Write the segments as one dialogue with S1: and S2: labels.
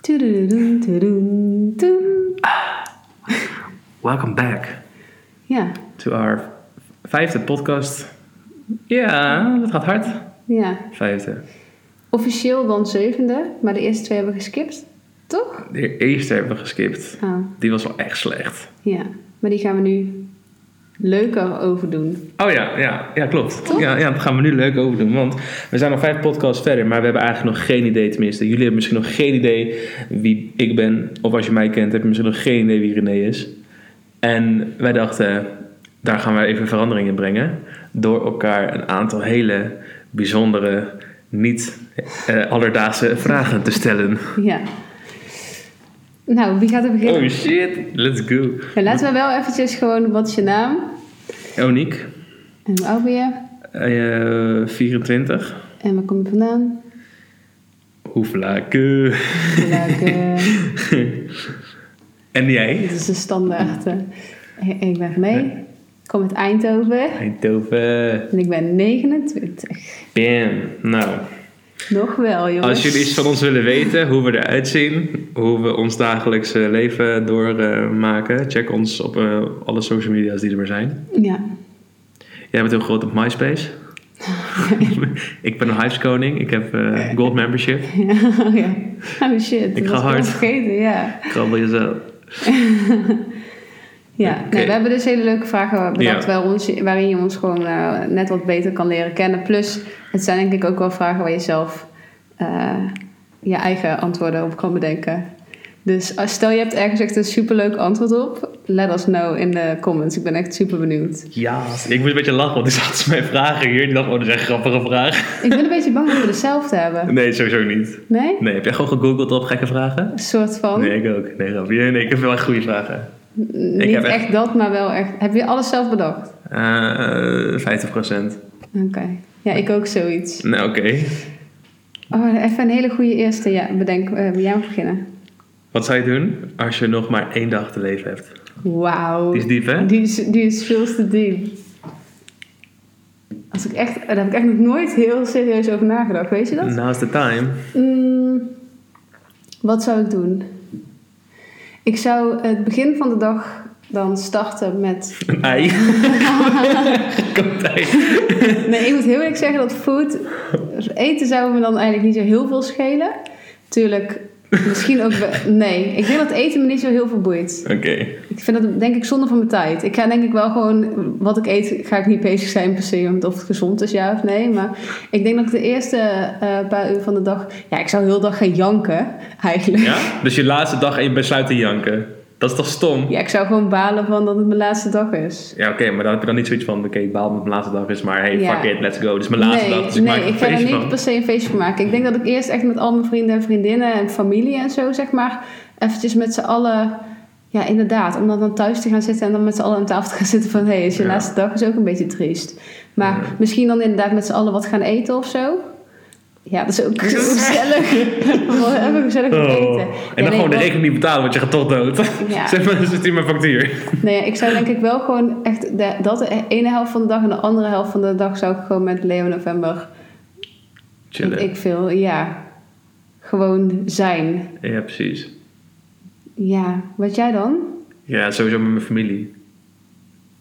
S1: Tudududoen, tududoen, doen.
S2: Welcome back
S1: Ja,
S2: to our vijfde podcast. Ja, dat gaat hard.
S1: ja.
S2: Vijfde.
S1: Officieel dan zevende, maar de eerste twee hebben we geskipt, toch?
S2: De eerste hebben we geskipt.
S1: Oh,
S2: Die was wel echt slecht.
S1: ja. Maar die gaan we nu leuker overdoen.
S2: Oh ja, ja, ja klopt.
S1: Toch?
S2: Ja, ja, dat gaan we nu leuk over doen. Want we zijn al vijf podcasts verder, maar we hebben eigenlijk nog geen idee tenminste. Jullie hebben misschien nog geen idee wie ik ben. Of als je mij kent, heb je misschien nog geen idee wie René is. En wij dachten, daar gaan wij even verandering in brengen. Door elkaar een aantal hele bijzondere, niet eh, alledaagse vragen te stellen.
S1: Ja. Nou, wie gaat er beginnen?
S2: Oh shit, let's go.
S1: Ja, laten we wel eventjes gewoon, wat is je naam?
S2: Oniek,
S1: En hoe oud ben je?
S2: eh, 24.
S1: En waar kom je vandaan?
S2: Hoe vlakke.
S1: Leuk, eh,
S2: en jij?
S1: dit is de standaard. eh. Ik ben René, kom uit Eindhoven
S2: Eindhoven.
S1: en ik ben 29.
S2: Bam. Nou,
S1: Nog wel, jongens.
S2: als jullie iets van ons willen weten, hoe we eruit zien, hoe we ons dagelijkse leven doormaken, check ons op eh, alle social media's die er maar zijn.
S1: Ja,
S2: Jij bent heel groot op MySpace. ik ben een Hiveskoning. Ik heb eh, gold membership.
S1: Ja, ja. Oh shit,
S2: Ik
S1: dat
S2: ga
S1: was
S2: hard.
S1: vergeten, ja.
S2: Krabbel jezelf.
S1: Ja,
S2: Oké.
S1: nee, we hebben dus hele leuke vragen bedacht
S2: Ja.
S1: waar ons, waarin je ons gewoon eh, net wat beter kan leren kennen. Plus, het zijn denk ik ook wel vragen waar je zelf eh, je eigen antwoorden op kan bedenken. Dus als, stel je hebt ergens echt een superleuk antwoord op, let us know in de comments. Ik ben echt super benieuwd.
S2: Ja. Ik moest een beetje lachen, want ik zat mijn vragen hier. Die dacht, oh, dat zijn grappige vragen.
S1: Ik ben een beetje bang dat we dezelfde hebben.
S2: Nee, sowieso niet.
S1: Nee?
S2: Nee, heb jij gewoon gegoogeld op gekke vragen?
S1: Een soort van.
S2: Nee, ik ook. Nee, grapje. Nee, ik heb wel echt goede vragen.
S1: Niet
S2: heb echt-
S1: echt dat, maar wel echt. Heb je alles zelf bedacht?
S2: Eh 50%.
S1: Oké. Ja, ik ook zoiets.
S2: Nou, oké.
S1: Oh, even een hele goede eerste. Ja, bedenk. eh, bij jou beginnen.
S2: Wat zou je doen als je nog maar één dag te leven hebt?
S1: Wauw.
S2: Die is diep, hè?
S1: Die is, die is veel te diep. Als ik echt, daar heb ik echt nog nooit heel serieus over nagedacht. Weet je dat?
S2: Now's the time.
S1: Mm, wat zou ik doen? Ik zou het begin van de dag dan starten met...
S2: Een ei. Komt ei.
S1: Nee, ik moet heel eerlijk zeggen dat food... Eten zou me dan eigenlijk niet zo heel veel schelen. Tuurlijk, misschien ook... wel- Nee, ik denk dat eten me niet zo heel veel boeit.
S2: Oké.
S1: Ik vind dat denk ik zonde van mijn tijd. Ik ga denk ik wel gewoon, wat ik eet, ga ik niet bezig zijn per se met of het gezond is, ja of nee. Maar ik denk dat ik de eerste eh, paar uur van de dag, ja, ik zou heel de dag gaan janken eigenlijk. Ja?
S2: Ja? Dus je laatste dag en je besluit te janken. Dat is toch stom?
S1: ik zou gewoon balen van dat het mijn laatste dag is.
S2: Ja, oké, maar dan heb je dan niet zoiets van... Oké, ik baal dat het mijn laatste dag is, maar hey,
S1: Ja.
S2: fuck it, let's go. Dit is mijn laatste
S1: nee,
S2: dag, dus ik
S1: nee,
S2: maak er
S1: ik
S2: een
S1: ga er
S2: feestje
S1: niet
S2: van.
S1: per se een feestje van maken. Ik denk dat ik eerst echt met al mijn vrienden en vriendinnen en familie en zo, zeg maar, eventjes met z'n allen... Ja, inderdaad. Om dan, dan thuis te gaan zitten en dan met z'n allen aan tafel te gaan zitten van... hé, hey, is je
S2: Ja.
S1: laatste dag is ook een beetje triest. Maar
S2: Ja.
S1: misschien dan inderdaad met z'n allen wat gaan eten of zo. Ja, dat is ook gezellig. Wel Even gezellig gaan
S2: Oh.
S1: eten.
S2: En dan
S1: Ja, nee,
S2: gewoon de
S1: wel-
S2: rekening niet betalen, want je gaat toch dood.
S1: Ja.
S2: zeg maar, dan zit hier mijn factuur.
S1: Nee, ik zou denk ik wel gewoon echt... De, dat de ene helft van de dag en de andere helft van de dag... zou ik gewoon met Leo November...
S2: Chillen.
S1: weet Ik veel, ja. Gewoon zijn.
S2: Ja, precies.
S1: Ja, wat jij dan?
S2: Ja, sowieso met mijn familie.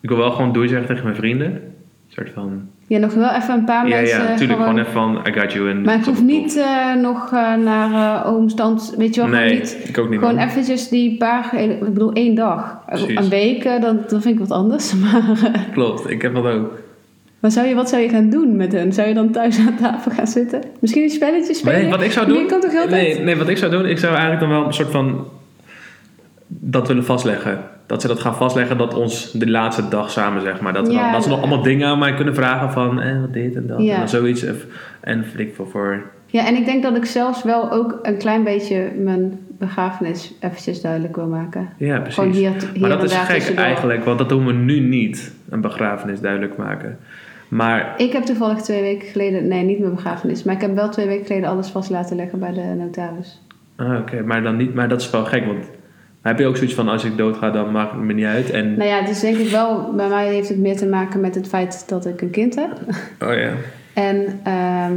S2: Ik wil wel gewoon doei zeggen tegen mijn vrienden. Een soort van...
S1: Ja, nog wel even een paar
S2: Ja,
S1: mensen...
S2: ja, natuurlijk. Gewoon
S1: gewoon
S2: even van, I got you. En
S1: Maar ik hoef niet eh, nog eh, naar eh ooms, tantes, weet je wel,
S2: Nee,
S1: gewoon niet.
S2: ik ook niet.
S1: Gewoon
S2: man.
S1: eventjes die paar, ik bedoel één dag.
S2: Precies.
S1: Een week, eh, dan, dan vind ik wat anders. Maar, eh,
S2: Klopt, ik heb dat ook.
S1: maar zou je, wat zou je gaan doen met hen? Zou je dan thuis aan tafel gaan zitten? Misschien een spelletje spelen?
S2: Nee, wat ik zou
S1: Maar
S2: doen...
S1: Je kan toch heel tijd...
S2: nee, nee, wat ik zou doen, ik zou eigenlijk dan wel een soort van... Dat willen vastleggen. Dat ze dat gaan vastleggen, dat ons de laatste dag samen, zeg maar. Dat, we
S1: Ja.
S2: dan, dat ze nog allemaal dingen aan mij kunnen vragen van... Eh, wat dit en dat
S1: Ja.
S2: en dan zoiets. En, en flik voor... voor
S1: Ja, en ik denk dat ik zelfs wel ook een klein beetje mijn begrafenis eventjes duidelijk wil maken.
S2: ja, precies.
S1: Gewoon hier, hier
S2: maar
S1: en
S2: dat is
S1: daar
S2: gek
S1: tussendoor.
S2: eigenlijk, want dat doen we nu niet. Een begrafenis duidelijk maken. Maar
S1: Ik heb toevallig twee weken geleden, nee, niet mijn begrafenis, maar ik heb wel twee weken geleden alles vast laten leggen bij de notaris.
S2: Ah, oké, maar dan niet. Maar dat is wel gek, want heb je ook zoiets van als ik doodga, dan maakt het me niet uit. En
S1: Nou ja, dus denk ik wel, bij mij heeft het meer te maken met het feit dat ik een kind heb.
S2: oh ja,
S1: En ehm,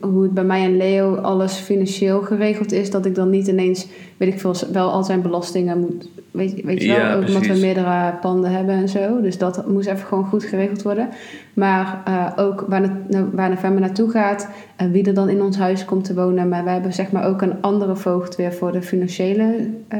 S1: hoe het bij mij en Leo alles financieel geregeld is, dat ik dan niet ineens, weet ik veel, wel al zijn belastingen moet, weet, weet je wel,
S2: Ja,
S1: ook omdat we
S2: precies.
S1: meerdere panden hebben en zo. Dus dat moest even gewoon goed geregeld worden. Maar eh, ook waar, de, waar November naartoe gaat en wie er dan in ons huis komt te wonen. Maar wij hebben zeg maar ook een andere voogd weer voor de financiële eh,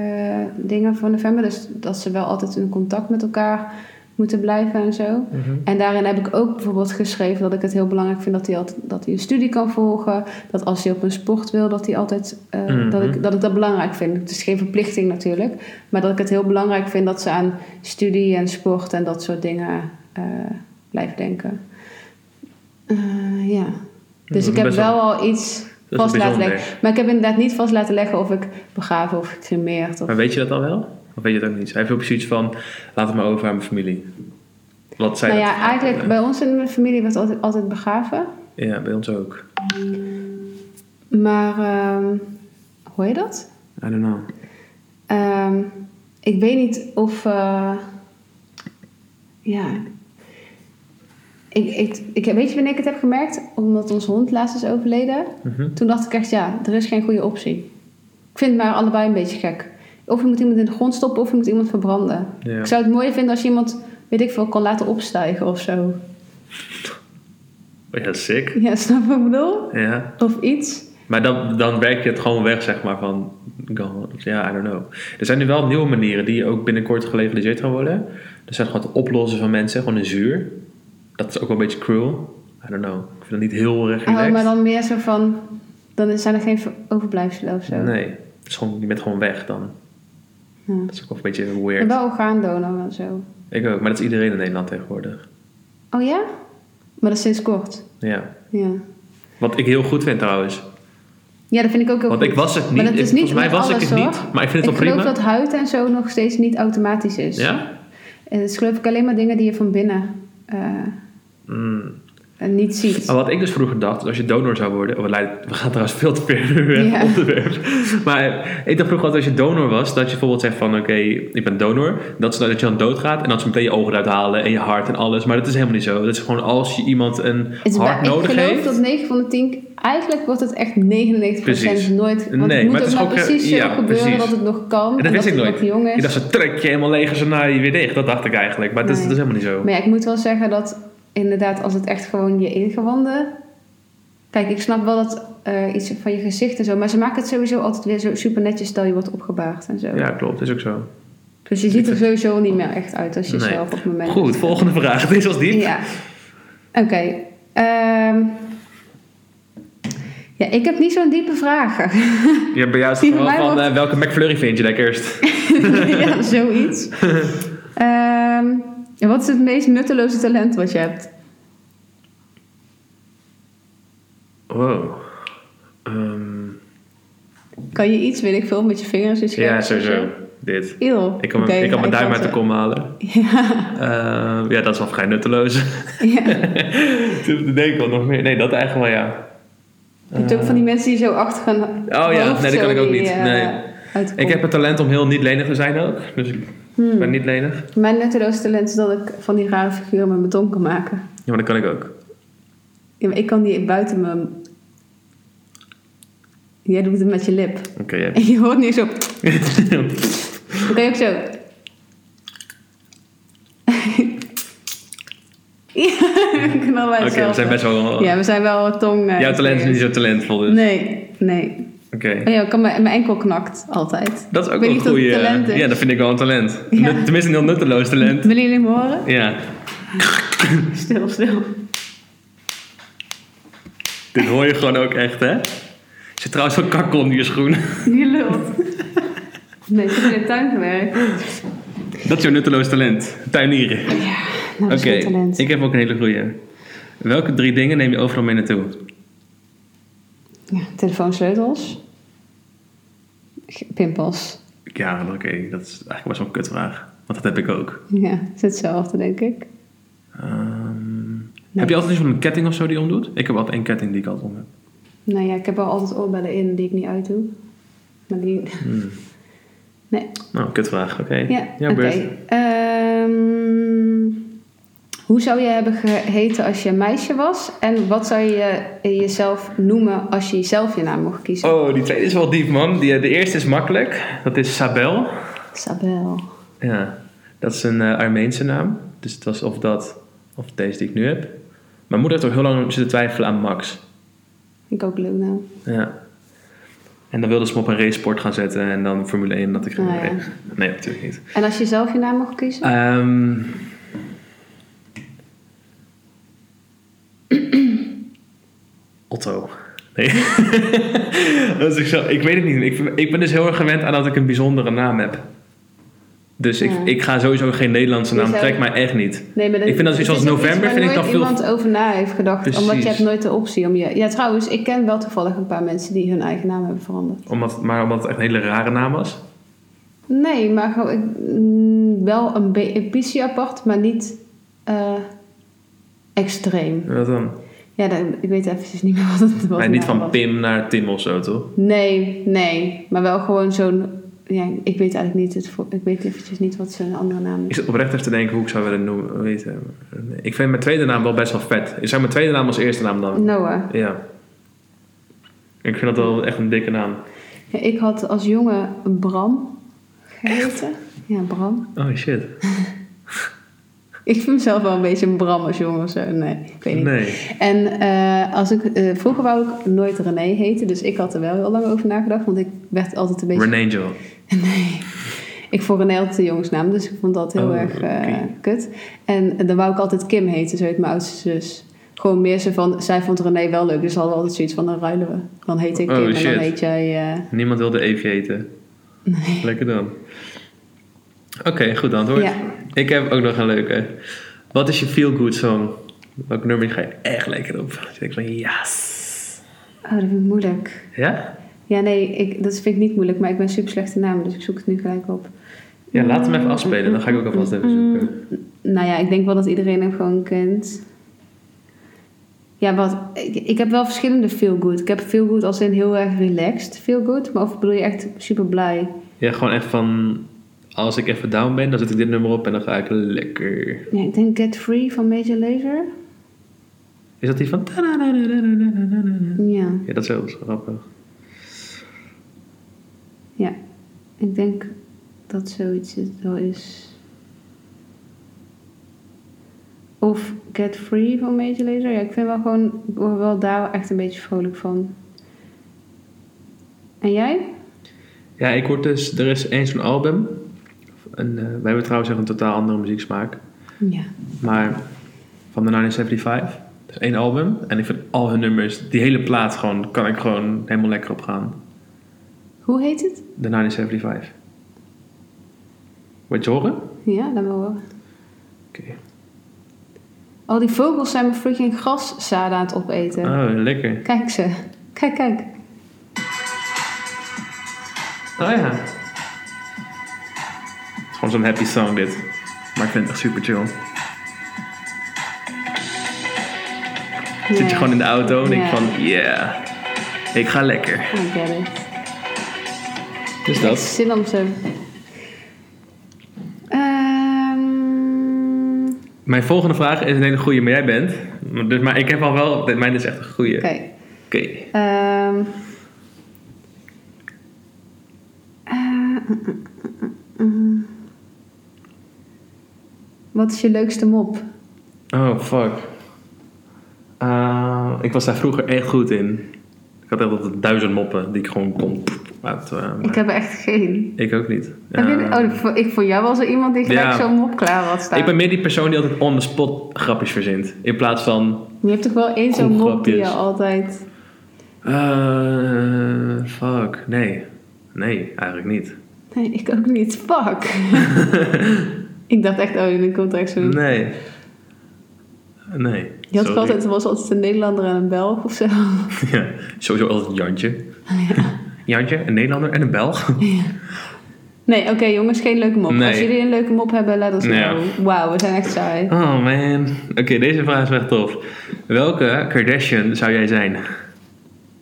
S1: dingen van November. Dus dat ze wel altijd in contact met elkaar moeten blijven en zo. En daarin heb ik ook bijvoorbeeld geschreven dat ik het heel belangrijk vind dat hij, altijd, dat hij een studie kan volgen. Dat als hij op een sport wil, dat hij altijd. eh,
S2: Mhm.
S1: dat, ik, dat ik dat belangrijk vind. Het is geen verplichting natuurlijk. Maar dat ik het heel belangrijk vind dat ze aan studie en sport en dat soort dingen eh, blijven denken. Eh, ja. Dus
S2: is
S1: ik heb
S2: best wel-
S1: wel al iets
S2: is
S1: vast laten
S2: bijzonder.
S1: leggen. Maar ik heb inderdaad niet vast laten leggen of ik begraven of gecremeerd. Of...
S2: Maar weet je dat al wel? Of weet je dat ook niet? Hij heeft ook zoiets van, laat het maar over aan mijn familie. Wat zij
S1: Nou
S2: dat
S1: ja,
S2: graag
S1: eigenlijk
S2: willen.
S1: bij ons in de familie werd altijd, altijd begraven.
S2: Ja, bij ons ook.
S1: Maar ehm, hoor je dat?
S2: I don't know.
S1: Ehm, ik weet niet of. eh, ja. Ik, ik, ik, weet je wanneer ik het heb gemerkt? Omdat onze hond laatst is overleden.
S2: Mhm.
S1: Toen dacht ik echt, ja, er is geen goede optie. Ik vind het maar allebei een beetje gek. Of je moet iemand in de grond stoppen of je moet iemand verbranden.
S2: Ja.
S1: Ik zou het mooier vinden als je iemand, weet ik veel, kan laten opstijgen of zo.
S2: Ja, sick.
S1: Ja, snap je wat ik bedoel?
S2: Ja.
S1: Of iets.
S2: Maar dan, dan werk je het gewoon weg, zeg maar, van... go- Ja, I don't know. Er zijn nu wel nieuwe manieren die ook binnenkort gelegaliseerd gaan worden. Er zijn gewoon het oplossen van mensen, gewoon een zuur. Dat is ook wel een beetje cruel. I don't know. Ik vind dat niet heel erg relaxed.
S1: Oh, maar dan meer zo van, dan zijn er geen ver- overblijfselen of zo.
S2: Nee, het is gewoon, je bent gewoon weg dan.
S1: Ja.
S2: Dat is ook wel een beetje
S1: Hmm. En
S2: weird.
S1: wel orgaandonor en zo.
S2: Ik ook, maar dat is iedereen in Nederland tegenwoordig.
S1: Oh ja? Maar dat is sinds kort.
S2: Ja.
S1: Ja,
S2: Wat ik heel goed vind trouwens.
S1: ja dat vind ik ook heel
S2: Want
S1: goed.
S2: ik was het niet.
S1: Maar dat
S2: Ik-
S1: is niet
S2: Volgens mij
S1: met
S2: was ik
S1: alles,
S2: het
S1: hoor.
S2: niet. Maar ik vind het
S1: ik
S2: wel
S1: geloof
S2: prima.
S1: dat huid en zo nog steeds niet automatisch is.
S2: Ja?
S1: En het is geloof ik alleen maar dingen die je van binnen eh,
S2: Mm.
S1: niet ziet.
S2: Maar wat ik dus vroeger dacht, als je donor zou worden. Oh, we leiden- we gaan trouwens veel te ver weg
S1: Ja.
S2: onderwerp. Maar eh, ik dacht vroeger altijd als je donor was, dat je bijvoorbeeld zegt van oké, ik ben donor. Dat, is, nou dat je dan doodgaat en dat ze meteen je ogen eruit halen en je hart en alles. Maar dat is helemaal niet zo. Dat is gewoon als je iemand een
S1: Het is
S2: hart
S1: bij- ik
S2: nodig
S1: geloof
S2: heeft.
S1: dat 9 van de 10... Eigenlijk wordt het echt 99%
S2: Precies.
S1: nooit... Want
S2: Nee,
S1: het moet
S2: maar het
S1: ook
S2: is
S1: maar
S2: ook, eh,
S1: precies zo
S2: ja,
S1: gebeuren
S2: precies.
S1: dat het nog kan.
S2: en dat wist ik
S1: het
S2: nooit.
S1: nog jong is.
S2: Ik dacht, ze trek je helemaal leeg en ze naaien je weer dicht. Dat dacht ik eigenlijk. Maar dat, is,
S1: Nee.
S2: dat is helemaal niet zo.
S1: Maar ja, ik moet wel zeggen dat inderdaad, als het echt gewoon je ingewanden. Kijk, ik snap wel dat eh, iets van je gezicht en zo, maar ze maken het sowieso altijd weer zo super netjes, stel je wordt opgebaard en zo.
S2: Ja, klopt. Is ook zo.
S1: Dus je ziet er sowieso niet meer echt uit als je
S2: Nee.
S1: zelf Dus op het moment.
S2: Goed, volgende vraag. Deze was diep.
S1: Ja. Oké. ehm, ja, ik heb niet zo'n diepe vragen.
S2: Ja, bij jou is
S1: Die
S2: het
S1: van
S2: gewoon
S1: mij
S2: van
S1: wordt-
S2: eh, welke McFlurry vind je lekkerst?
S1: ja, zoiets. Ehm, en wat is het meest nutteloze talent wat je hebt?
S2: Wow. Ehm,
S1: Kan je iets, weet ik veel, met je vingers? Dus
S2: ja, sowieso. Dit.
S1: Eeuw.
S2: Ik kan,
S1: Oké,
S2: mijn- ik kan
S1: nou,
S2: mijn duim
S1: had
S2: uit de
S1: ze.
S2: kom halen.
S1: Ja.
S2: Eh, ja, dat is wel vrij nutteloos.
S1: ja.
S2: Toen denk ik wel nog meer. Nee, dat eigenlijk wel ja.
S1: Je hebt ook van die mensen die zo achter gaan. Oh
S2: ja, nee, dat kan ik ook niet.
S1: eh,
S2: Nee. Ik heb het talent om heel niet lenig te zijn ook. Dus ik
S1: Hmm.
S2: ben niet lenig.
S1: Mijn nutteloos talent is dat ik van die rare figuren met beton kan maken.
S2: Ja, maar dat kan ik ook.
S1: Ja, maar ik kan die buiten mijn. Jij doet het met je lip.
S2: Oké, ja.
S1: En je hoort niet zo. Dan kan je ook zo. ja, ik kan al bij
S2: Oké, we
S1: hetzelfde.
S2: zijn best wel...
S1: Ja, we zijn wel tong. eh,
S2: Jouw talent is niet zo talentvol dus.
S1: Nee, nee.
S2: Oké.
S1: Oh ja, ik kan mijn, mijn enkel knakt altijd.
S2: Dat is
S1: Ik weet
S2: ook wel een
S1: niet of het
S2: goeie. eh,
S1: talent is.
S2: Ja, dat vind ik wel een talent.
S1: Ja.
S2: Nut- Tenminste, een heel nutteloos talent.
S1: Willen jullie me horen?
S2: Ja.
S1: Stil, stil.
S2: Dit hoor je gewoon ook echt, hè? Er zit trouwens wel kakkel onder je schoen.
S1: Die lult. Nee, ik heb in de tuin gewerkt.
S2: Dat is jouw nutteloos talent. Tuinieren.
S1: Nou, dat
S2: Oké,
S1: is geen talent.
S2: ik heb ook een hele goeie. Welke drie dingen neem je overal mee naartoe?
S1: Ja, telefoonsleutels. G- Pimpels.
S2: Ja, oké, dat is eigenlijk best wel een kutvraag. Want dat heb ik ook.
S1: Ja, het is hetzelfde, denk ik.
S2: Ehm, Heb je altijd iets van een ketting of zo die je omdoet? Ik heb altijd één ketting die ik altijd om heb.
S1: Nou ja, ik heb wel altijd oorbellen in die ik niet uitdoe. Maar die...
S2: Hmm.
S1: Nee,
S2: Nou, kutvraag, oké.
S1: ja,
S2: Jouw
S1: oké.
S2: beurt.
S1: Ehm, Hoe zou je hebben geheten als je een meisje was? En wat zou je jezelf noemen als je zelf je naam mocht kiezen?
S2: Oh, die tweede is wel diep, man. Die, eh, de eerste is makkelijk. Dat is Sabel.
S1: Sabel.
S2: Ja, dat is een eh, Armeense naam. Dus het was of dat, of deze die ik nu heb. Mijn moeder heeft ook heel lang zitten twijfelen aan Max.
S1: Vind ik ook leuk nou.
S2: Ja. En dan wilde ze me op een raceport gaan zetten en dan Formule 1 dat ik
S1: Ah, ja.
S2: nee, nee, natuurlijk niet.
S1: En als je zelf je naam mocht kiezen?
S2: Ehm, Otto. Nee. dat is ik, zo, ik weet het niet. Ik, ik ben dus heel erg gewend aan dat ik een bijzondere naam heb. Dus ik,
S1: Ja.
S2: ik ga sowieso geen Nederlandse naam.
S1: Je zou-
S2: Trekt mij echt niet.
S1: Nee, maar
S2: Ik vind dat
S1: het
S2: zoiets als
S1: is ook
S2: november
S1: iets waar
S2: vind ik dan
S1: nooit
S2: veel-
S1: iemand over na heeft gedacht. Omdat
S2: Precies.
S1: je hebt nooit de optie om je... Ja, trouwens, ik ken wel toevallig een paar mensen die hun eigen naam hebben veranderd.
S2: Omdat, maar omdat het echt een hele rare naam was.
S1: Nee, maar gewoon, ik, mm, wel een, be- een beetje apart, maar niet eh, extreem.
S2: Wat dan?
S1: Ja, dan- ik weet eventjes niet meer wat het was.
S2: Nee, niet van Pim naar Tim of zo, toch?
S1: Nee, nee. Maar wel gewoon zo'n... Ja, ik weet eigenlijk niet... Het, vo- ik weet eventjes niet wat zijn andere naam
S2: Ik
S1: is.
S2: zit oprecht even te denken hoe ik zou willen noemen. Weten. Ik vind mijn tweede naam wel best wel vet. Ik zou mijn tweede naam als eerste naam dan.
S1: Noah.
S2: Ja. Ik vind dat wel echt een dikke naam.
S1: Ja, ik had als jongen een Bram geheten. Ja, Bram.
S2: Oh shit.
S1: Ik vind mezelf wel een beetje een Bram als jongen of zo. Nee, ik weet niet.
S2: Nee.
S1: En eh, als ik, eh, vroeger wou ik nooit René heten. Dus ik had er wel heel lang over nagedacht. Want ik werd altijd een beetje...
S2: René Angel.
S1: Nee. Ik vond René altijd de jongensnaam. Dus ik vond dat heel
S2: Oh,
S1: erg eh,
S2: oké.
S1: kut. En eh, dan wou ik altijd Kim heten. Zo heet mijn oudste zus. Gewoon meer zo van... Zij vond René wel leuk. Dus hadden we altijd zoiets van... Dan ruilen we. Dan heet ik
S2: Oh,
S1: Kim en
S2: shit.
S1: dan heet jij... eh,
S2: Niemand wilde Evi heten.
S1: nee.
S2: Lekker dan. Oké, goed antwoord.
S1: Ja.
S2: Ik heb ook nog een leuke. Wat is je feel good song? Welk nummer ga je echt lekker op? Dan denk ik van yes.
S1: Oh, dat vind ik moeilijk.
S2: Ja?
S1: Ja, nee, ik, dat vind ik niet moeilijk, maar ik ben super slechte naam, dus ik zoek het nu gelijk op.
S2: Ja, laat hem even afspelen. Dan ga ik ook alvast even zoeken.
S1: Nou ja, ik denk wel dat iedereen hem gewoon kent. Ja, wat, ik, ik heb wel verschillende feel good. Ik heb feel good als in heel erg relaxed feel good, maar of bedoel je echt super blij?
S2: Ja, gewoon echt van... Als ik even down ben, dan zet ik dit nummer op en dan ga ik lekker.
S1: Ja, ik denk Get Free van Major Lazer.
S2: Is dat die van...
S1: Ja,
S2: Ja, dat is wel grappig.
S1: ja. Ik denk dat zoiets het wel is. Of Get Free van Major Lazer. Ja, ik vind wel gewoon, ik word wel daar echt een beetje vrolijk van. En jij?
S2: Ja, ik hoor dus, er is eens zo'n album. En, eh, wij hebben trouwens echt een totaal andere muzieksmaak.
S1: Ja.
S2: Maar van de 1975. Er is één album. En ik vind al hun nummers, die hele plaat gewoon, kan ik gewoon helemaal lekker op gaan.
S1: Hoe heet het?
S2: De 1975. Wat je horen? Oké.
S1: Ja, dat wil wel. Al die vogels zijn me freaking graszaden aan het opeten.
S2: Oh, lekker.
S1: Kijk ze. Kijk, kijk.
S2: Oh ja. Het is gewoon zo'n happy song dit. Maar ik vind het echt super chill. Zit je gewoon in de auto en denk
S1: Ja.
S2: van, yeah. Ik ga lekker.
S1: I get it.
S2: Dus
S1: Ik heb
S2: dat.
S1: zin om ze... Ehm,
S2: Mijn volgende vraag is een hele goede, maar jij bent. Maar Dus, maar ik heb al wel, mijn is echt een goede.
S1: Oké.
S2: Oké.
S1: Ehm. Eh, mm, mm, mm, mm. Wat is je leukste mop?
S2: Oh, fuck. Eh, ik was daar vroeger echt goed in. Ik had echt altijd duizend moppen die ik gewoon kon. Uit, eh, maar
S1: Ik heb er echt geen.
S2: ik ook niet.
S1: Heb je-
S2: Eh,
S1: oh, voor- ik vond jou wel zo iemand die gelijk
S2: Ja.
S1: zo'n mop klaar had staan.
S2: Ik ben meer die persoon die altijd on the spot grapjes verzint. In plaats van
S1: Je hebt toch wel één zo'n
S2: Kom,
S1: mop die je
S2: grapjes.
S1: altijd...
S2: Eh, fuck, nee. Nee, eigenlijk niet.
S1: Nee, ik ook niet. Fuck. ik dacht echt, oh, nu komt er echt zo'n...
S2: Nee. Nee.
S1: je had toch
S2: sorry.
S1: altijd, er was altijd een Nederlander en een Belg of zo. Oh,
S2: Ja, sowieso altijd een Jantje. Jantje, een Nederlander en een Belg.
S1: Nee, oké jongens, geen leuke mop.
S2: Nee.
S1: Als jullie een leuke mop hebben, laat ons
S2: Ja.
S1: know. Wauw, we zijn echt saai.
S2: Oh man. Oké, deze vraag is echt tof. Welke Kardashian zou jij zijn?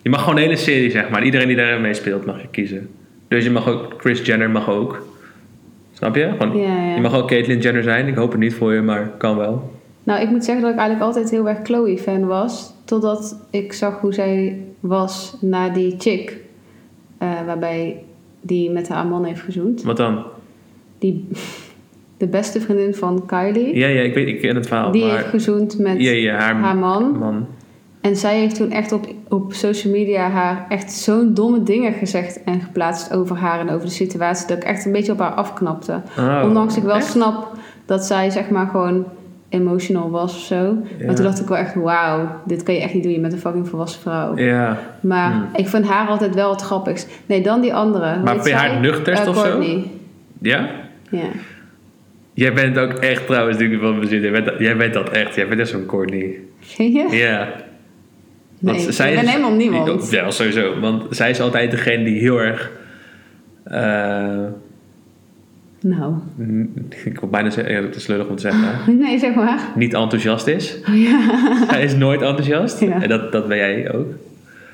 S2: Je mag gewoon de hele serie, zeg maar. Iedereen die daarin meespeelt mag je kiezen. Dus je mag ook, Chris Jenner mag ook. Snap je? Gewoon,
S1: Ja, ja.
S2: Je mag ook Caitlyn Jenner zijn. Ik hoop het niet voor je, maar kan wel.
S1: Nou, ik moet zeggen dat ik eigenlijk altijd heel erg Chloe-fan was. Totdat ik zag hoe zij was na die chick. eh, waarbij die met haar man heeft gezoend.
S2: Wat dan?
S1: Die, de beste vriendin van Kylie.
S2: Ja, ja, ik, weet, ik ken het verhaal.
S1: die heeft
S2: Oh, maar,
S1: gezoend met
S2: ja, ja, haar,
S1: haar man.
S2: man.
S1: En zij heeft toen echt op, op social media haar echt zo'n domme dingen gezegd en geplaatst over haar en over de situatie. Dat ik echt een beetje op haar afknapte.
S2: Oh,
S1: Ondanks ik wel
S2: echt?
S1: snap dat zij zeg maar gewoon emotional was of zo.
S2: Ja.
S1: Maar toen dacht ik wel echt, wauw, dit kan je echt niet doen. Je bent een fucking volwassen vrouw.
S2: Ja.
S1: Maar
S2: Hmm.
S1: ik vind haar altijd wel het grappigst. Nee, dan die andere. Hoe
S2: Maar
S1: heet
S2: vind je haar
S1: zij?
S2: het nuchterst
S1: Eh,
S2: of zo?
S1: Courtney.
S2: Ja?
S1: Ja.
S2: Jij bent ook echt trouwens natuurlijk van bezit. Jij bent, dat- jij bent dat echt. Jij bent echt zo'n Courtney.
S1: Ken je?
S2: Ja.
S1: Nee,
S2: Want
S1: ik ben helemaal niemand.
S2: Ja, sowieso. Want zij is altijd degene die heel erg... eh,
S1: Nou,
S2: n- ik wil bijna zeggen, ja, dat is lullig om te zeggen.
S1: nee zeg maar.
S2: Niet enthousiast is.
S1: Oh, ja.
S2: Zij is nooit enthousiast.
S1: Ja.
S2: En dat, dat ben jij ook.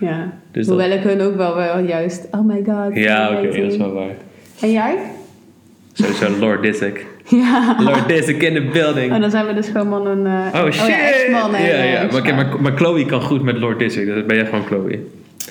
S1: ja.
S2: Dus dat-
S1: Hoewel ik hun ook wel, wel juist, oh my god.
S2: Ja, oké,
S1: amazing.
S2: dat is wel waar.
S1: En jij?
S2: Sowieso Lord Disick.
S1: Ja.
S2: Lord Disick in the building.
S1: En dan zijn we dus gewoon mannen. eh,
S2: Oh shit!
S1: ja, ex-man en,
S2: ja,
S1: eh,
S2: ja. Maar,
S1: ex-vrouw.
S2: oké, maar, maar Chloe kan goed met Lord Disick, dus ben jij gewoon Chloe.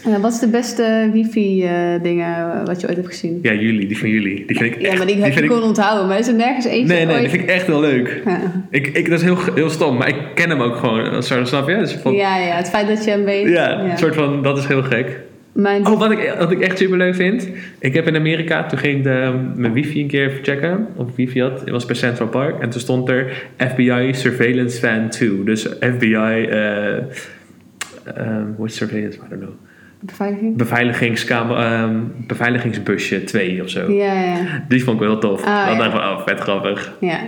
S1: Eh, wat is de beste wifi-dingen eh, wat je ooit hebt gezien?
S2: Ja, jullie, die van jullie. Die vind ik
S1: Ja,
S2: echt,
S1: maar die heb je
S2: vind
S1: kon
S2: ik,
S1: onthouden. Maar er is er nergens eentje
S2: Nee, nee,
S1: ooit...
S2: die vind ik echt heel leuk.
S1: Ja.
S2: Ik, ik, dat is heel, heel stom, maar ik ken hem ook gewoon. Sorry, snap je? Dus van, ja,
S1: ja, ja, het feit dat je hem weet.
S2: een soort van, dat is heel gek.
S1: Mijn
S2: Oh, wat ik, wat ik echt super leuk vind. Ik heb in Amerika, toen ging ik de, ehm, mijn wifi een keer even checken. Of ik wifi had. Het was bij Central Park. En toen stond er FBI Surveillance Fan 2. Dus FBI, eh ehm, hoe is surveillance? I don't know.
S1: beveiliging.
S2: Beveiligingskamer, ehm, beveiligingsbusje 2 of zo.
S1: Ja, ja,
S2: Die vond ik wel heel tof.
S1: Ah,
S2: Dan
S1: ja.
S2: dacht ik van, oh, vet grappig.
S1: ja.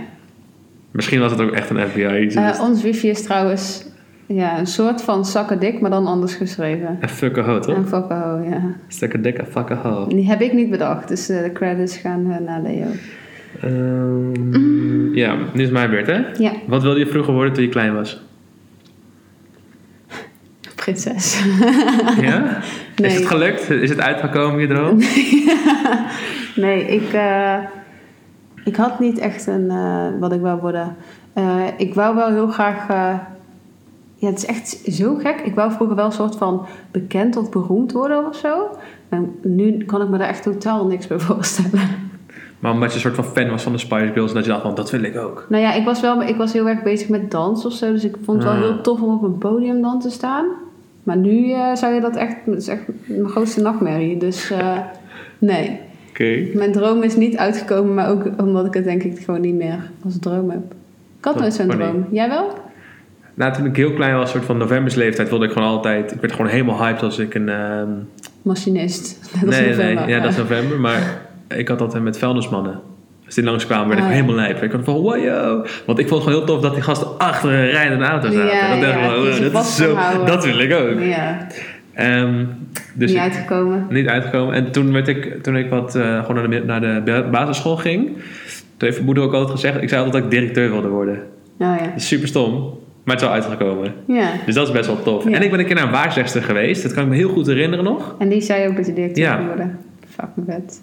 S2: Misschien was het ook echt een FBI.
S1: Eh, ons wifi is trouwens ja, een soort van zakkendik, maar dan anders geschreven.
S2: en fucking ho, toch?
S1: En fucking ho, ja.
S2: Stukken dikke fucking ho.
S1: Die heb ik niet bedacht, dus eh, de credits gaan eh, naar Leo. Mm.
S2: Ehm, Ja, nu is mijn beurt, hè?
S1: Ja,
S2: Wat wilde je vroeger worden toen je klein was?
S1: prinses.
S2: Ja?
S1: Nee.
S2: Is het gelukt? Is het uitgekomen, je droom?
S1: Nee, ik, eh, ik had niet echt een, eh, wat ik wou worden. Eh, ik wou wel heel graag. eh, ja, het is echt zo gek. Ik wou vroeger wel een soort van bekend of beroemd worden of zo. En nu kan ik me daar echt totaal niks bij voorstellen.
S2: Maar omdat je een soort van fan was van de Spice Girls... en dat je dacht van, dat wil ik ook.
S1: Nou ja, ik was, wel, ik was heel erg bezig met dans of zo. Dus ik vond het
S2: Ah.
S1: wel heel tof om op een podium dan te staan. Maar nu eh, zou je dat echt. Dat is echt mijn grootste nachtmerrie. Dus eh, nee.
S2: Oké.
S1: Mijn droom is niet uitgekomen, maar ook omdat ik het denk ik gewoon niet meer als droom heb. Ik had
S2: Dat
S1: nooit zo'n
S2: kan
S1: droom. Jij wel?
S2: Nou, toen ik heel klein was, soort van novembersleeftijd... wilde ik gewoon altijd... Ik werd gewoon helemaal hyped als ik een... ehm,
S1: Machinist. Net als
S2: nee,
S1: november.
S2: nee, ja, dat is november. Maar ik had altijd met vuilnismannen. Als die langskwamen, werd ik
S1: Ah, ja.
S2: helemaal lijp. Ik had van, wow, yo. Want ik vond het gewoon heel tof dat die gasten achter een rijdende auto zaten.
S1: Ja,
S2: dat dacht ik
S1: ja,
S2: wel,
S1: die ze
S2: wow, dat, is
S1: vast
S2: zo,
S1: houden.
S2: dat wil ik ook.
S1: Ja,
S2: Ehm, dus
S1: niet
S2: ik-
S1: uitgekomen.
S2: niet uitgekomen. En toen werd ik, toen ik wat, eh, gewoon naar de, naar de ba- basisschool ging, toen heeft mijn moeder ook altijd gezegd, ik zei altijd dat ik directeur wilde worden.
S1: Oh ja.
S2: Dat is super stom, maar het is wel uitgekomen.
S1: Ja.
S2: Dus dat is best wel tof.
S1: Ja.
S2: En ik ben een keer naar een waarzegster geweest, dat kan ik me heel goed herinneren nog.
S1: En die zei ook dat je directeur
S2: Ja.
S1: kon worden. Fuck me vet.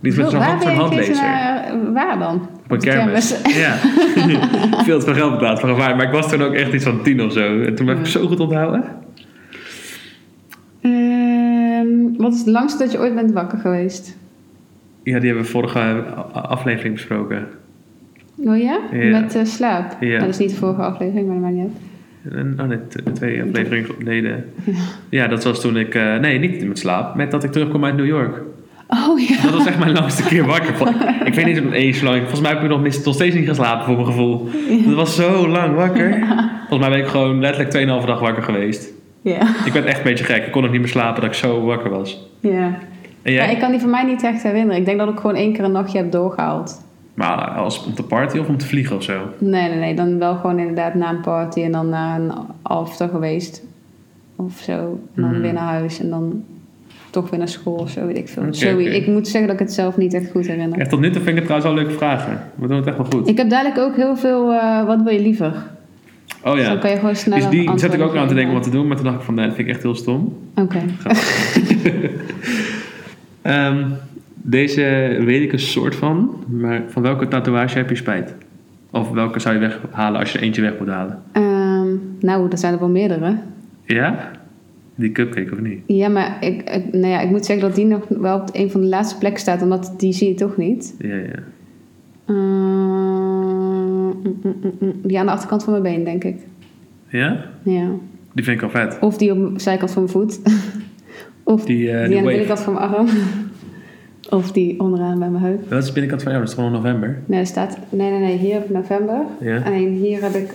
S2: Die is met
S1: Zo,
S2: zo'n hand, zo'n
S1: ben je een keertje
S2: handlezer.
S1: naar- Waar dan?
S2: Op een kermis. Ja. Veel te veel geld betaald voor een waar. Maar ik was toen ook echt iets van tien of zo. En toen heb ik het zo goed onthouden.
S1: Ehm, wat is het langste dat je ooit bent wakker geweest?
S2: Ja, die hebben we vorige a- a- aflevering besproken.
S1: Oh ja?
S2: Ja.
S1: Met eh, slaap?
S2: Ja.
S1: Nou, dat is niet de vorige aflevering, maar dat maakt niet uit.
S2: En- Oh nee, t- twee afleveringen geleden. Ja, dat was toen ik... eh, nee, niet met slaap. Met dat ik terugkwam uit New York.
S1: Oh ja.
S2: Dat was echt mijn langste keer wakker. Van- Ik weet niet of het eens zo lang... Volgens mij heb ik nog, mis, nog steeds niet geslapen voor mijn gevoel. Dat was zo lang wakker. Volgens mij ben ik gewoon letterlijk 2,5 dag wakker geweest.
S1: Ja.
S2: Ik werd echt een beetje gek. Ik kon nog niet meer slapen dat ik zo wakker was.
S1: Ja.
S2: En
S1: Ja,
S2: jij?
S1: ik kan die van mij niet echt herinneren. Ik denk dat ik gewoon één keer een nachtje heb doorgehaald.
S2: Maar als om te party of om te vliegen of zo?
S1: Nee, nee, nee. Dan wel gewoon inderdaad na een party en dan naar een after geweest. Of zo. En dan
S2: Mhm.
S1: weer naar huis en dan toch weer naar school of zo, weet ik veel.
S2: Oké,
S1: Sorry,
S2: oké.
S1: ik moet zeggen dat ik het zelf niet echt goed herinner.
S2: Echt tot nu toe vind ik het trouwens wel leuke vragen. We doen het echt wel goed.
S1: Ik heb dadelijk ook heel veel, eh, wat wil je liever?
S2: Oh
S1: Dus dan
S2: ja.
S1: kan je gewoon sneller
S2: Dus die zat ik
S1: antwoorden
S2: ook aan te denken wat
S1: geven.
S2: te doen, maar toen dacht ik van nee, dat vind ik echt heel stom.
S1: Oké.
S2: Ehm, deze weet ik een soort van, maar van welke tatoeage heb je spijt? Of welke zou je weghalen als je er eentje weg moet halen?
S1: Ehm, nou, er zijn er wel meerdere.
S2: Ja? Die cupcake of niet?
S1: Ja, maar ik, ik- nou ja, ik moet zeggen dat die nog wel op een van de laatste plekken staat, omdat die zie je toch niet.
S2: Ja, ja.
S1: Ehm, mm, mm, mm, mm. die aan de achterkant van mijn been, denk ik.
S2: Ja?
S1: Ja.
S2: Die vind ik al vet.
S1: Of die op de zijkant van mijn voet. of die,
S2: Die, eh, die
S1: aan de
S2: wave.
S1: binnenkant van mijn arm. of die onderaan bij mijn heup.
S2: Dat is de binnenkant van jou, dat is gewoon november.
S1: Nee, er staat... Nee, nee, nee. Hier heb ik november.
S2: Ja.
S1: En hier heb ik...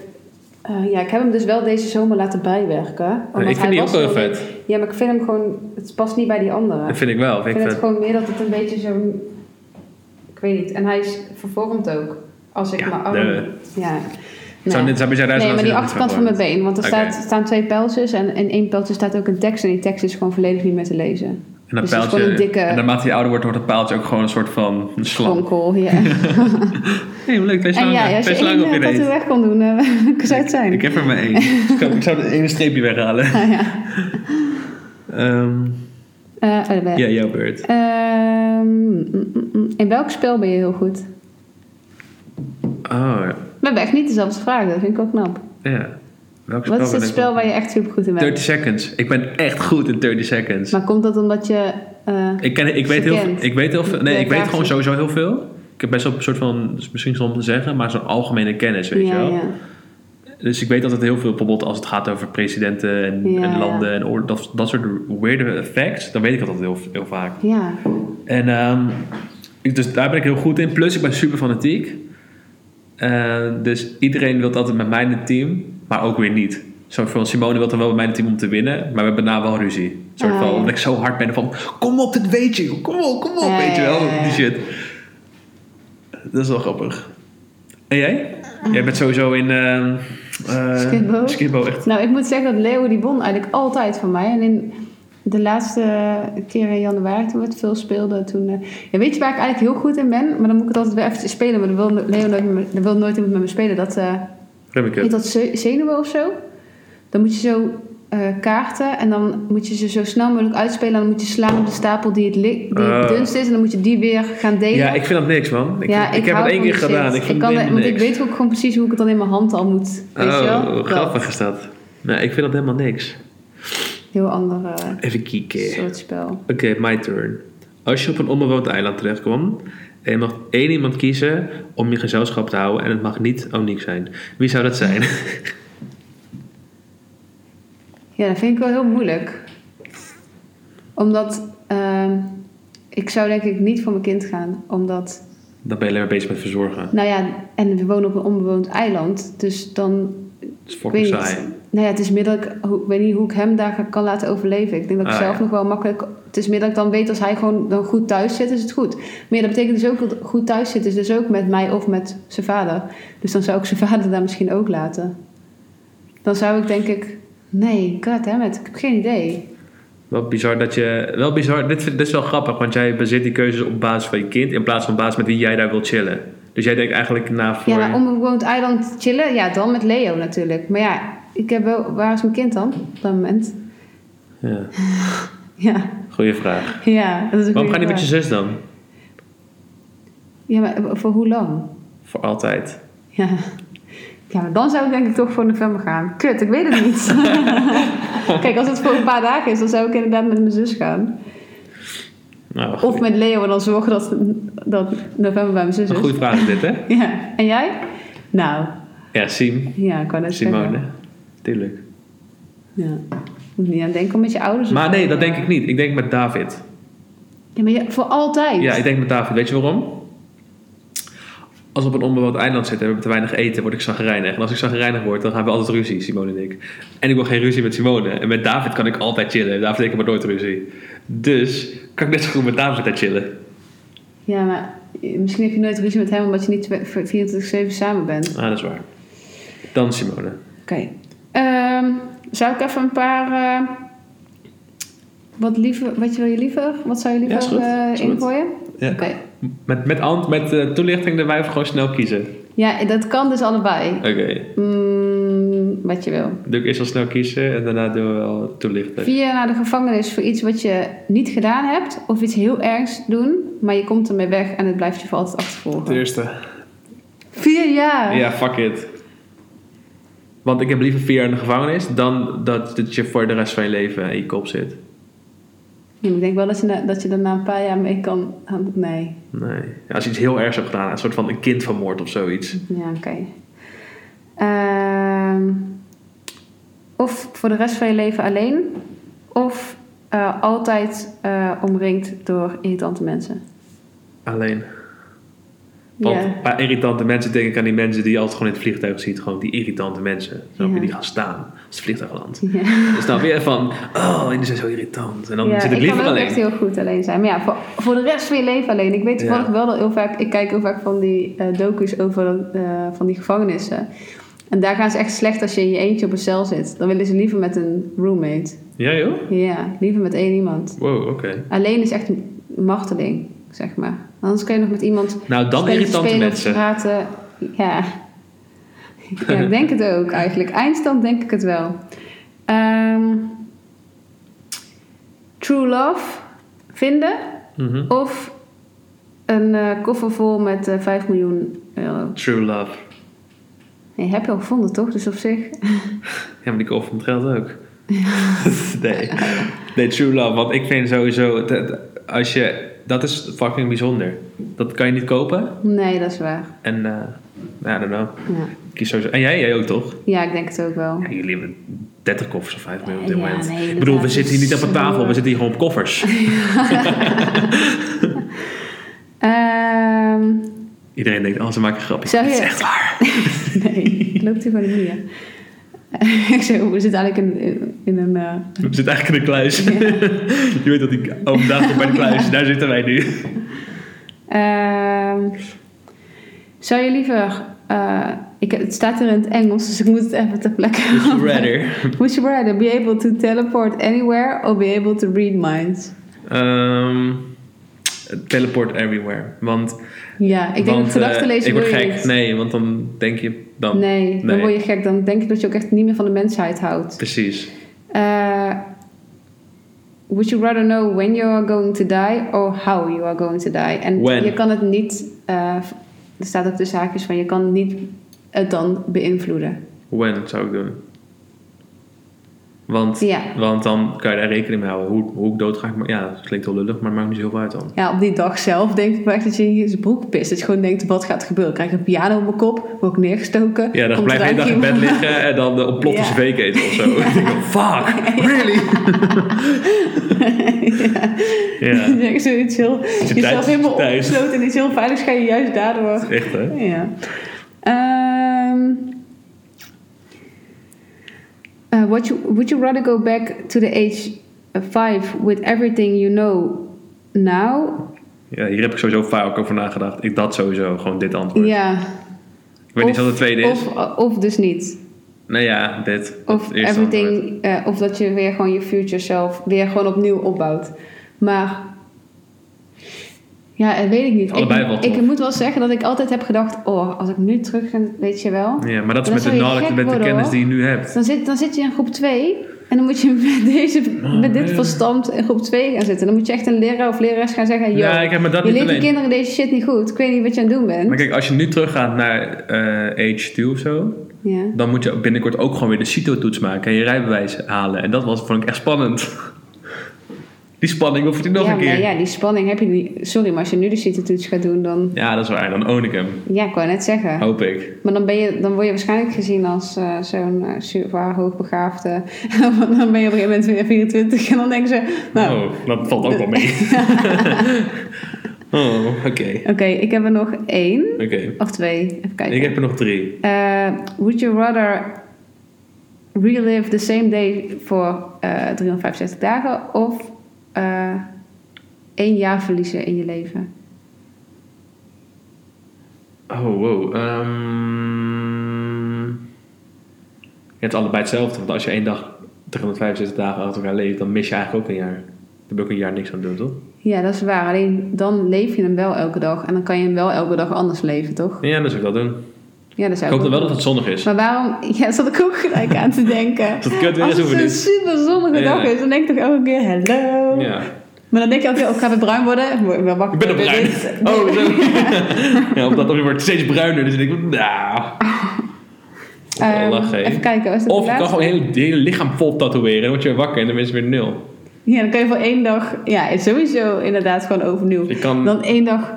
S1: eh, ja, ik heb hem dus wel deze zomer laten bijwerken. omdat
S2: ik vind
S1: hij
S2: die
S1: was
S2: ook wel
S1: nog
S2: vet.
S1: niet- Ja, maar ik vind hem gewoon... Het past niet bij die andere.
S2: Dat vind ik wel.
S1: Ik
S2: Vind ik
S1: vind het
S2: vet.
S1: gewoon meer dat het een beetje zo'n... Ik weet niet. En hij is vervormd ook. Als ik
S2: Ja,
S1: mijn arm...
S2: de-
S1: Ja.
S2: Zou,
S1: Nee.
S2: dit- zou bij jou
S1: Nee, maar
S2: ruizen als
S1: die
S2: je dat niet
S1: achterkant van
S2: zou
S1: mijn
S2: worden?
S1: been. Want er
S2: Oké.
S1: staat, staan twee pijltjes en in één pijltje staat ook een tekst. En die tekst is gewoon volledig niet meer te lezen.
S2: En dat
S1: Dus het is
S2: pijltje.
S1: gewoon een dikke-
S2: En naarmate je ouder wordt, wordt dat pijltje ook gewoon een soort van een slang.
S1: Kronkel, ja.
S2: Hé, hey, leuk. Twee
S1: en
S2: slangen.
S1: ja, als je
S2: twee
S1: één
S2: slangen op
S1: eh,
S2: je
S1: tattoo
S2: reet.
S1: weg kon doen, eh, welke zou het zijn?
S2: Ik heb er maar één. Dus ik, zou- ik zou er één streepje weghalen.
S1: Ah, ja.
S2: Ehm,
S1: Eh, oh, daar ben ik.
S2: ja, jouw beurt.
S1: Ehm, mm, mm, mm. in welk spel ben je heel goed?
S2: Oh, ja.
S1: We hebben echt niet dezelfde vraag, dat vind ik ook knap.
S2: ja. Welk
S1: Wat is
S2: ben
S1: het
S2: ik
S1: spel
S2: op?
S1: waar je echt super goed in bent?
S2: 30 seconds. Ik ben echt goed in 30 seconds.
S1: Maar komt dat omdat je... eh,
S2: Ik, ken, ik, weet
S1: Ze
S2: heel,
S1: kent.
S2: ik weet heel veel. Nee,
S1: De
S2: ik weet
S1: vraag
S2: gewoon
S1: is-
S2: sowieso heel veel. Ik heb best wel een soort van, is misschien soms te zeggen, maar zo'n algemene kennis, weet
S1: ja,
S2: je wel.
S1: ja.
S2: Dus ik weet altijd heel veel, bijvoorbeeld als het gaat over presidenten en,
S1: Ja,
S2: en
S1: ja.
S2: landen en oor- dat, dat soort weirde facts, dan weet ik altijd heel, heel vaak.
S1: Ja.
S2: En ehm, ik, dus daar ben ik heel goed in. Plus, ik ben super fanatiek. Eh, dus iedereen wil altijd met mij in het team, maar ook weer niet. Zo van Simone wil dan wel met mij in het team om te winnen, maar we hebben daarna wel ruzie. Soort
S1: Ah,
S2: van,
S1: ja.
S2: Omdat ik zo hard ben van: kom op, dit weet je, kom op, kom op,
S1: Ja,
S2: weet je
S1: ja,
S2: wel,
S1: ja, ja.
S2: die shit. Dat is wel grappig. En jij? Jij bent sowieso in ehm eh,
S1: Skipbo.
S2: Skipbo echt.
S1: Nou, ik moet zeggen dat Leo die won eigenlijk altijd van mij. En in de laatste keer in januari, toen we het veel speelden, toen... eh, ja, weet je waar ik eigenlijk heel goed in ben? Maar dan moet ik het altijd weer even spelen. Maar dan wil Leo nooit, met me- dan wil nooit iemand met me spelen. Dat, eh heet
S2: Rummikub.
S1: dat ze- zenuwen of zo? Dan moet je zo eh, kaarten en dan moet je ze zo snel mogelijk uitspelen. En dan moet je slaan op de stapel die het, li- die het
S2: Oh.
S1: dunst is. En dan moet je die weer gaan delen.
S2: Ja, ik vind dat niks, man. Ik,
S1: Ja,
S2: ik, heb
S1: hou
S2: het
S1: van
S2: één keer
S1: die shit.
S2: gedaan. Ik vind
S1: kan
S2: het
S1: dat-
S2: helemaal
S1: Want ik
S2: niks.
S1: weet ook gewoon precies hoe ik het dan in mijn hand al moet. Weet je wel?
S2: oh,
S1: Dat.
S2: grappig is dat. Nee, ik vind dat helemaal niks.
S1: Heel ander eh,
S2: Even kieken. Oké,
S1: soort spel.
S2: my turn. Als je op een onbewoond eiland terechtkomt en je mag één iemand kiezen om je gezelschap te houden en het mag niet uniek zijn, wie zou dat zijn?
S1: Ja, dat vind ik wel heel moeilijk. Omdat ehm, ik zou denk ik niet voor mijn kind gaan. Omdat,
S2: Dan ben je alleen maar bezig met verzorgen.
S1: nou ja, en we wonen op een onbewoond eiland. Dus dan,
S2: Dat is
S1: ik weet
S2: fucking
S1: niet.
S2: saai.
S1: Nou ja, het is meer dat ik, hoe- ik weet niet hoe ik hem daar kan laten overleven. Ik denk dat ik
S2: Ah,
S1: zelf
S2: ja.
S1: nog wel makkelijk... Het is meer dat ik dan weet als hij gewoon dan goed thuis zit, is het goed. Maar ja, dat betekent dus ook dat goed thuis zit is dus ook met mij of met zijn vader. Dus dan zou ik zijn vader daar misschien ook laten. Dan zou ik denk ik... Nee, god damn it, ik heb geen idee.
S2: Wel bizar dat je. Wel bizar. Dit, vind- dit is wel grappig, want jij bezit die keuzes op basis van je kind in plaats van op basis met wie jij daar wilt chillen. Dus jij denkt eigenlijk na voor.
S1: Ja, maar om een bewoond eiland te chillen, ja, dan met Leo natuurlijk. Maar ja, ik heb wel, waar is mijn kind dan op dat moment?
S2: Ja,
S1: Ja,
S2: goeie vraag.
S1: ja dat is een
S2: Waarom ga je
S1: goeie
S2: niet met je
S1: vraag.
S2: zus dan?
S1: Ja, maar voor hoe lang?
S2: Voor altijd.
S1: Ja. ja, maar dan zou ik denk ik toch voor november gaan. Kut, ik weet het niet. Kijk, als het voor een paar dagen is, dan zou ik inderdaad met mijn zus gaan.
S2: Nou, goeie-
S1: Of met Leo en dan zorgen dat, dat november bij mijn zus
S2: Een
S1: is.
S2: goede vraag is dit, hè?
S1: Ja, en jij? Nou,
S2: Ja, Sim.
S1: ja, ik kan het
S2: Simone. Tuurlijk.
S1: Ja. Moet niet aan denken om met je ouders. of
S2: Maar
S1: zo.
S2: nee, dat denk ik niet. Ik denk met David.
S1: Ja, maar je- voor altijd.
S2: Ja, ik denk met David. Weet je waarom? Als we op een onbewoond eiland zitten en we hebben te weinig eten, word ik zagrijnig. En als ik zagrijnig word, dan gaan we altijd ruzie, Simone en ik. En ik wil geen ruzie met Simone. En met David kan ik altijd chillen. David en ik hebben nooit ruzie. Dus kan ik net zo goed met David daar chillen.
S1: Ja, maar misschien heb je nooit ruzie met hem omdat je niet 24-7 samen bent.
S2: Ah, dat is waar. Dan Simone.
S1: Oké. Ehm, zou ik even een paar. eh, wat, liever, wat wil je liever? Wat zou je
S2: Ja, is
S1: liever
S2: goed.
S1: eh,
S2: Is goed.
S1: ingooien?
S2: Ja.
S1: Oké.
S2: Met, met, ant, met eh, toelichting erbij of gewoon snel kiezen?
S1: Ja, dat kan dus allebei.
S2: Oké.
S1: Mm, wat je wil.
S2: Doe ik eerst wel snel kiezen en daarna doen we wel toelichten.
S1: Vier naar de gevangenis voor iets wat je niet gedaan hebt. Of iets heel ergs doen, maar je komt ermee weg en het blijft je voor altijd achtervolgen.
S2: eerste.
S1: Vier, Vier jaar.
S2: Ja, fuck it. Want ik heb liever vier jaar in de gevangenis dan dat het je voor de rest van je leven in je kop zit.
S1: Ja, maar Ik denk wel dat je, na- dat je er na een paar jaar mee kan. Nee.
S2: Nee. Ja, als je iets heel ergs hebt gedaan, een soort van een kind vermoord of zoiets.
S1: Ja, oké. Ehm, of voor de rest van je leven alleen. Of eh, altijd eh, omringd door irritante mensen.
S2: Alleen.
S1: Ja.
S2: Want bij irritante mensen denk ik aan die mensen die je altijd gewoon in het vliegtuig ziet. Gewoon die irritante mensen. Snap je?
S1: Ja.
S2: Die gaan staan als het vliegtuig landt.
S1: Ja.
S2: Dan snap je van, oh, die zijn zo irritant. En dan
S1: ja,
S2: zit ik liever
S1: kan ook
S2: alleen.
S1: echt heel goed alleen zijn. Maar ja, voor, voor de rest van je leven alleen. Ik weet
S2: Ja.
S1: toevallig wel dat heel vaak... Ik kijk heel vaak van die eh, docu's over eh, van die gevangenissen. En daar gaan ze echt slecht als je in je eentje op een cel zit. Dan willen ze liever met een roommate.
S2: Ja joh?
S1: Ja, liever met één iemand.
S2: Wow, oké.
S1: Alleen is echt een marteling, zeg maar. Anders kun je nog met iemand...
S2: Nou, dan
S1: spelletjes
S2: irritante
S1: spelen of
S2: mensen.
S1: praten. Ja. ja, ik denk het ook eigenlijk. Eindstand denk ik het wel. Ehm, true love vinden
S2: Mhm.
S1: of een eh, koffer vol met eh, 5 miljoen euro.
S2: True love.
S1: Nee, heb je al gevonden toch? Dus op zich.
S2: Ja, maar die koffer met geld ook. nee. nee, true love. Want ik vind sowieso, dat, als je, dat is fucking bijzonder. Dat kan je niet kopen.
S1: Nee, dat is waar.
S2: En, eh I don't know.
S1: Ja,
S2: Ik kies sowieso. En jij, jij ook toch?
S1: ja ik denk het ook wel.
S2: Ja, jullie hebben 30 koffers of 5 miljoen op dit
S1: Ja,
S2: moment.
S1: nee,
S2: ik bedoel, we
S1: dat
S2: zitten hier
S1: is
S2: niet op een tafel,
S1: zo-
S2: we zitten hier gewoon op koffers.
S1: Ehm,
S2: Iedereen denkt, oh, ze maken grapjes.
S1: Zou
S2: Het is
S1: je-
S2: echt waar.
S1: nee, loopt hier gewoon niet meer. ik zeg, we zitten eigenlijk in, in, in een. eh,
S2: We zitten eigenlijk in de kluis. je weet dat ik oh, daar bij de kluis, daar zitten wij nu.
S1: Ehm, zou je liever. eh, ik, het staat er in het Engels, dus ik moet het even ter plekke. halen.
S2: Redder.
S1: Would you rather be able to teleport anywhere or be able to read minds?
S2: Ehm, teleport everywhere. Want,
S1: Ja, ik denk
S2: want,
S1: dat gedachten
S2: eh,
S1: lezen
S2: ik word
S1: wil je
S2: gek.
S1: niet.
S2: Nee, want dan denk je dan.
S1: Nee, dan
S2: Nee.
S1: word je gek. Dan denk je dat je ook echt niet meer van de mensheid houdt.
S2: Precies.
S1: Eh, would you rather know when you are going to die or how you are going to die? En
S2: When.
S1: je kan het niet... eh, er staat ook tussen haakjes van... Je kan het niet het dan beïnvloeden.
S2: When zou ik doen? Want,
S1: Ja.
S2: want dan kan je daar rekening mee houden. Hoe, hoe ik dood ga, ik maar, ja, dat klinkt heel lullig, maar het maakt niet zo heel veel uit dan.
S1: Ja, op die dag zelf denk ik wel echt dat je in je broek pist. Dat je gewoon denkt, wat gaat er gebeuren? Krijg ik een piano op mijn kop? Word ik neergestoken?
S2: Ja, dan
S1: Komt
S2: blijf je
S1: er
S2: een dag in
S1: eigenlijk
S2: bed
S1: iemand-
S2: liggen en dan eh, op plotte
S1: Ja.
S2: cv eten of zo. Ik denk, fuck, really?
S1: ja.
S2: ja,
S1: Zeg, zoiets heel...
S2: je
S1: Jezelf
S2: thuis-
S1: helemaal
S2: thuis.
S1: opgesloten en iets heel veiligs ga je juist daardoor...
S2: echt hè?
S1: Ja. Ehm, uh, what you, would you rather go back to the age of five with everything you know now?
S2: Ja, hier heb ik sowieso vaak over nagedacht. Ik dat sowieso, gewoon dit antwoord.
S1: Ja.
S2: Ik weet niet wat het tweede is.
S1: Of, of dus niet.
S2: nou ja, dit.
S1: Of
S2: Het eerste antwoord.
S1: everything, eh, of dat je weer gewoon je future self weer gewoon opnieuw opbouwt. Maar ja, dat weet ik niet.
S2: Allebei wel
S1: ik, ik
S2: tof.
S1: moet wel zeggen dat ik altijd heb gedacht, oh, als ik nu terug ga, weet je wel.
S2: Ja, maar dat
S1: Dan
S2: is met de,
S1: zou je
S2: knowledge,
S1: gek
S2: met de
S1: worden,
S2: kennis
S1: hoor.
S2: die je nu hebt.
S1: Dan zit, dan zit je in groep 2 en dan moet je met, deze, met dit
S2: man.
S1: verstand in groep 2 gaan zitten. Dan moet je echt een leraar of lerares gaan zeggen: Yo,
S2: ja, ik heb me
S1: je
S2: dat niet
S1: leert de
S2: alleen.
S1: kinderen deze shit niet goed. Ik weet niet wat je aan het doen bent.
S2: Maar kijk, als je nu teruggaat naar eh age 2 of zo,
S1: Ja.
S2: dan moet je binnenkort ook gewoon weer de CITO-toets maken en je rijbewijs halen. En dat was, vond ik echt spannend. Die spanning hoef je niet nog
S1: ja,
S2: een keer.
S1: maar
S2: Ja.
S1: ja, die spanning heb je niet. Sorry, maar als je nu de CITO-toets gaat doen, dan.
S2: dat is waar. Dan own ik hem.
S1: Ja, ik wou net zeggen.
S2: Hoop ik.
S1: Maar dan, ben je, dan word je waarschijnlijk gezien als eh, zo'n eh, super hoogbegaafde. Want dan ben je op een gegeven moment weer 24 en dan denken ze: Nou,
S2: oh, dat valt ook wel mee. oh, oké.
S1: oké, ik heb er nog één
S2: Oké.
S1: of twee. Even kijken.
S2: Ik heb er nog drie.
S1: Uh, would you rather relive the same day voor eh 365 dagen of eh één jaar verliezen in je leven?
S2: Oh, wow. Ehm, het is allebei hetzelfde. Want als je één dag 365 dagen achter elkaar leeft, dan mis je eigenlijk ook een jaar. Dan heb je ook een jaar niks aan het doen, toch?
S1: Ja, dat is waar. Alleen dan leef je hem wel elke dag en dan kan je hem wel elke dag anders leven, toch?
S2: Ja, dan zou ik dat doen.
S1: Ja, dat
S2: Ik
S1: zou
S2: hoop dan wel dat het zonnig is.
S1: Maar waarom? Ja, zat ik ook gelijk aan te denken.
S2: Dat het kut weer
S1: Als
S2: is,
S1: het
S2: hoeven
S1: zo'n
S2: niet.
S1: super zonnige
S2: Ja.
S1: Oh. dag is, dan denk ik toch elke keer: hello.
S2: Ja.
S1: Maar dan denk je ook, ja, ik ga weer bruin worden. Ik word wel wakker.
S2: Ik ben nog bruin.
S1: Dit-
S2: Oh, zo.
S1: Ja.
S2: ja, op dat moment wordt het steeds bruiner. Dus ik denk, nou. Wel
S1: Ehm,
S2: lachen, hè?
S1: even kijken. Was dat
S2: Of
S1: de
S2: ik kan
S1: laatste?
S2: gewoon het hele, hele lichaam vol tatoeëren. Dan word je weer wakker en dan is het weer nul.
S1: Ja, dan kun je voor één dag... Ja, sowieso inderdaad gewoon overnieuw.
S2: Ik kan,
S1: Dan één dag...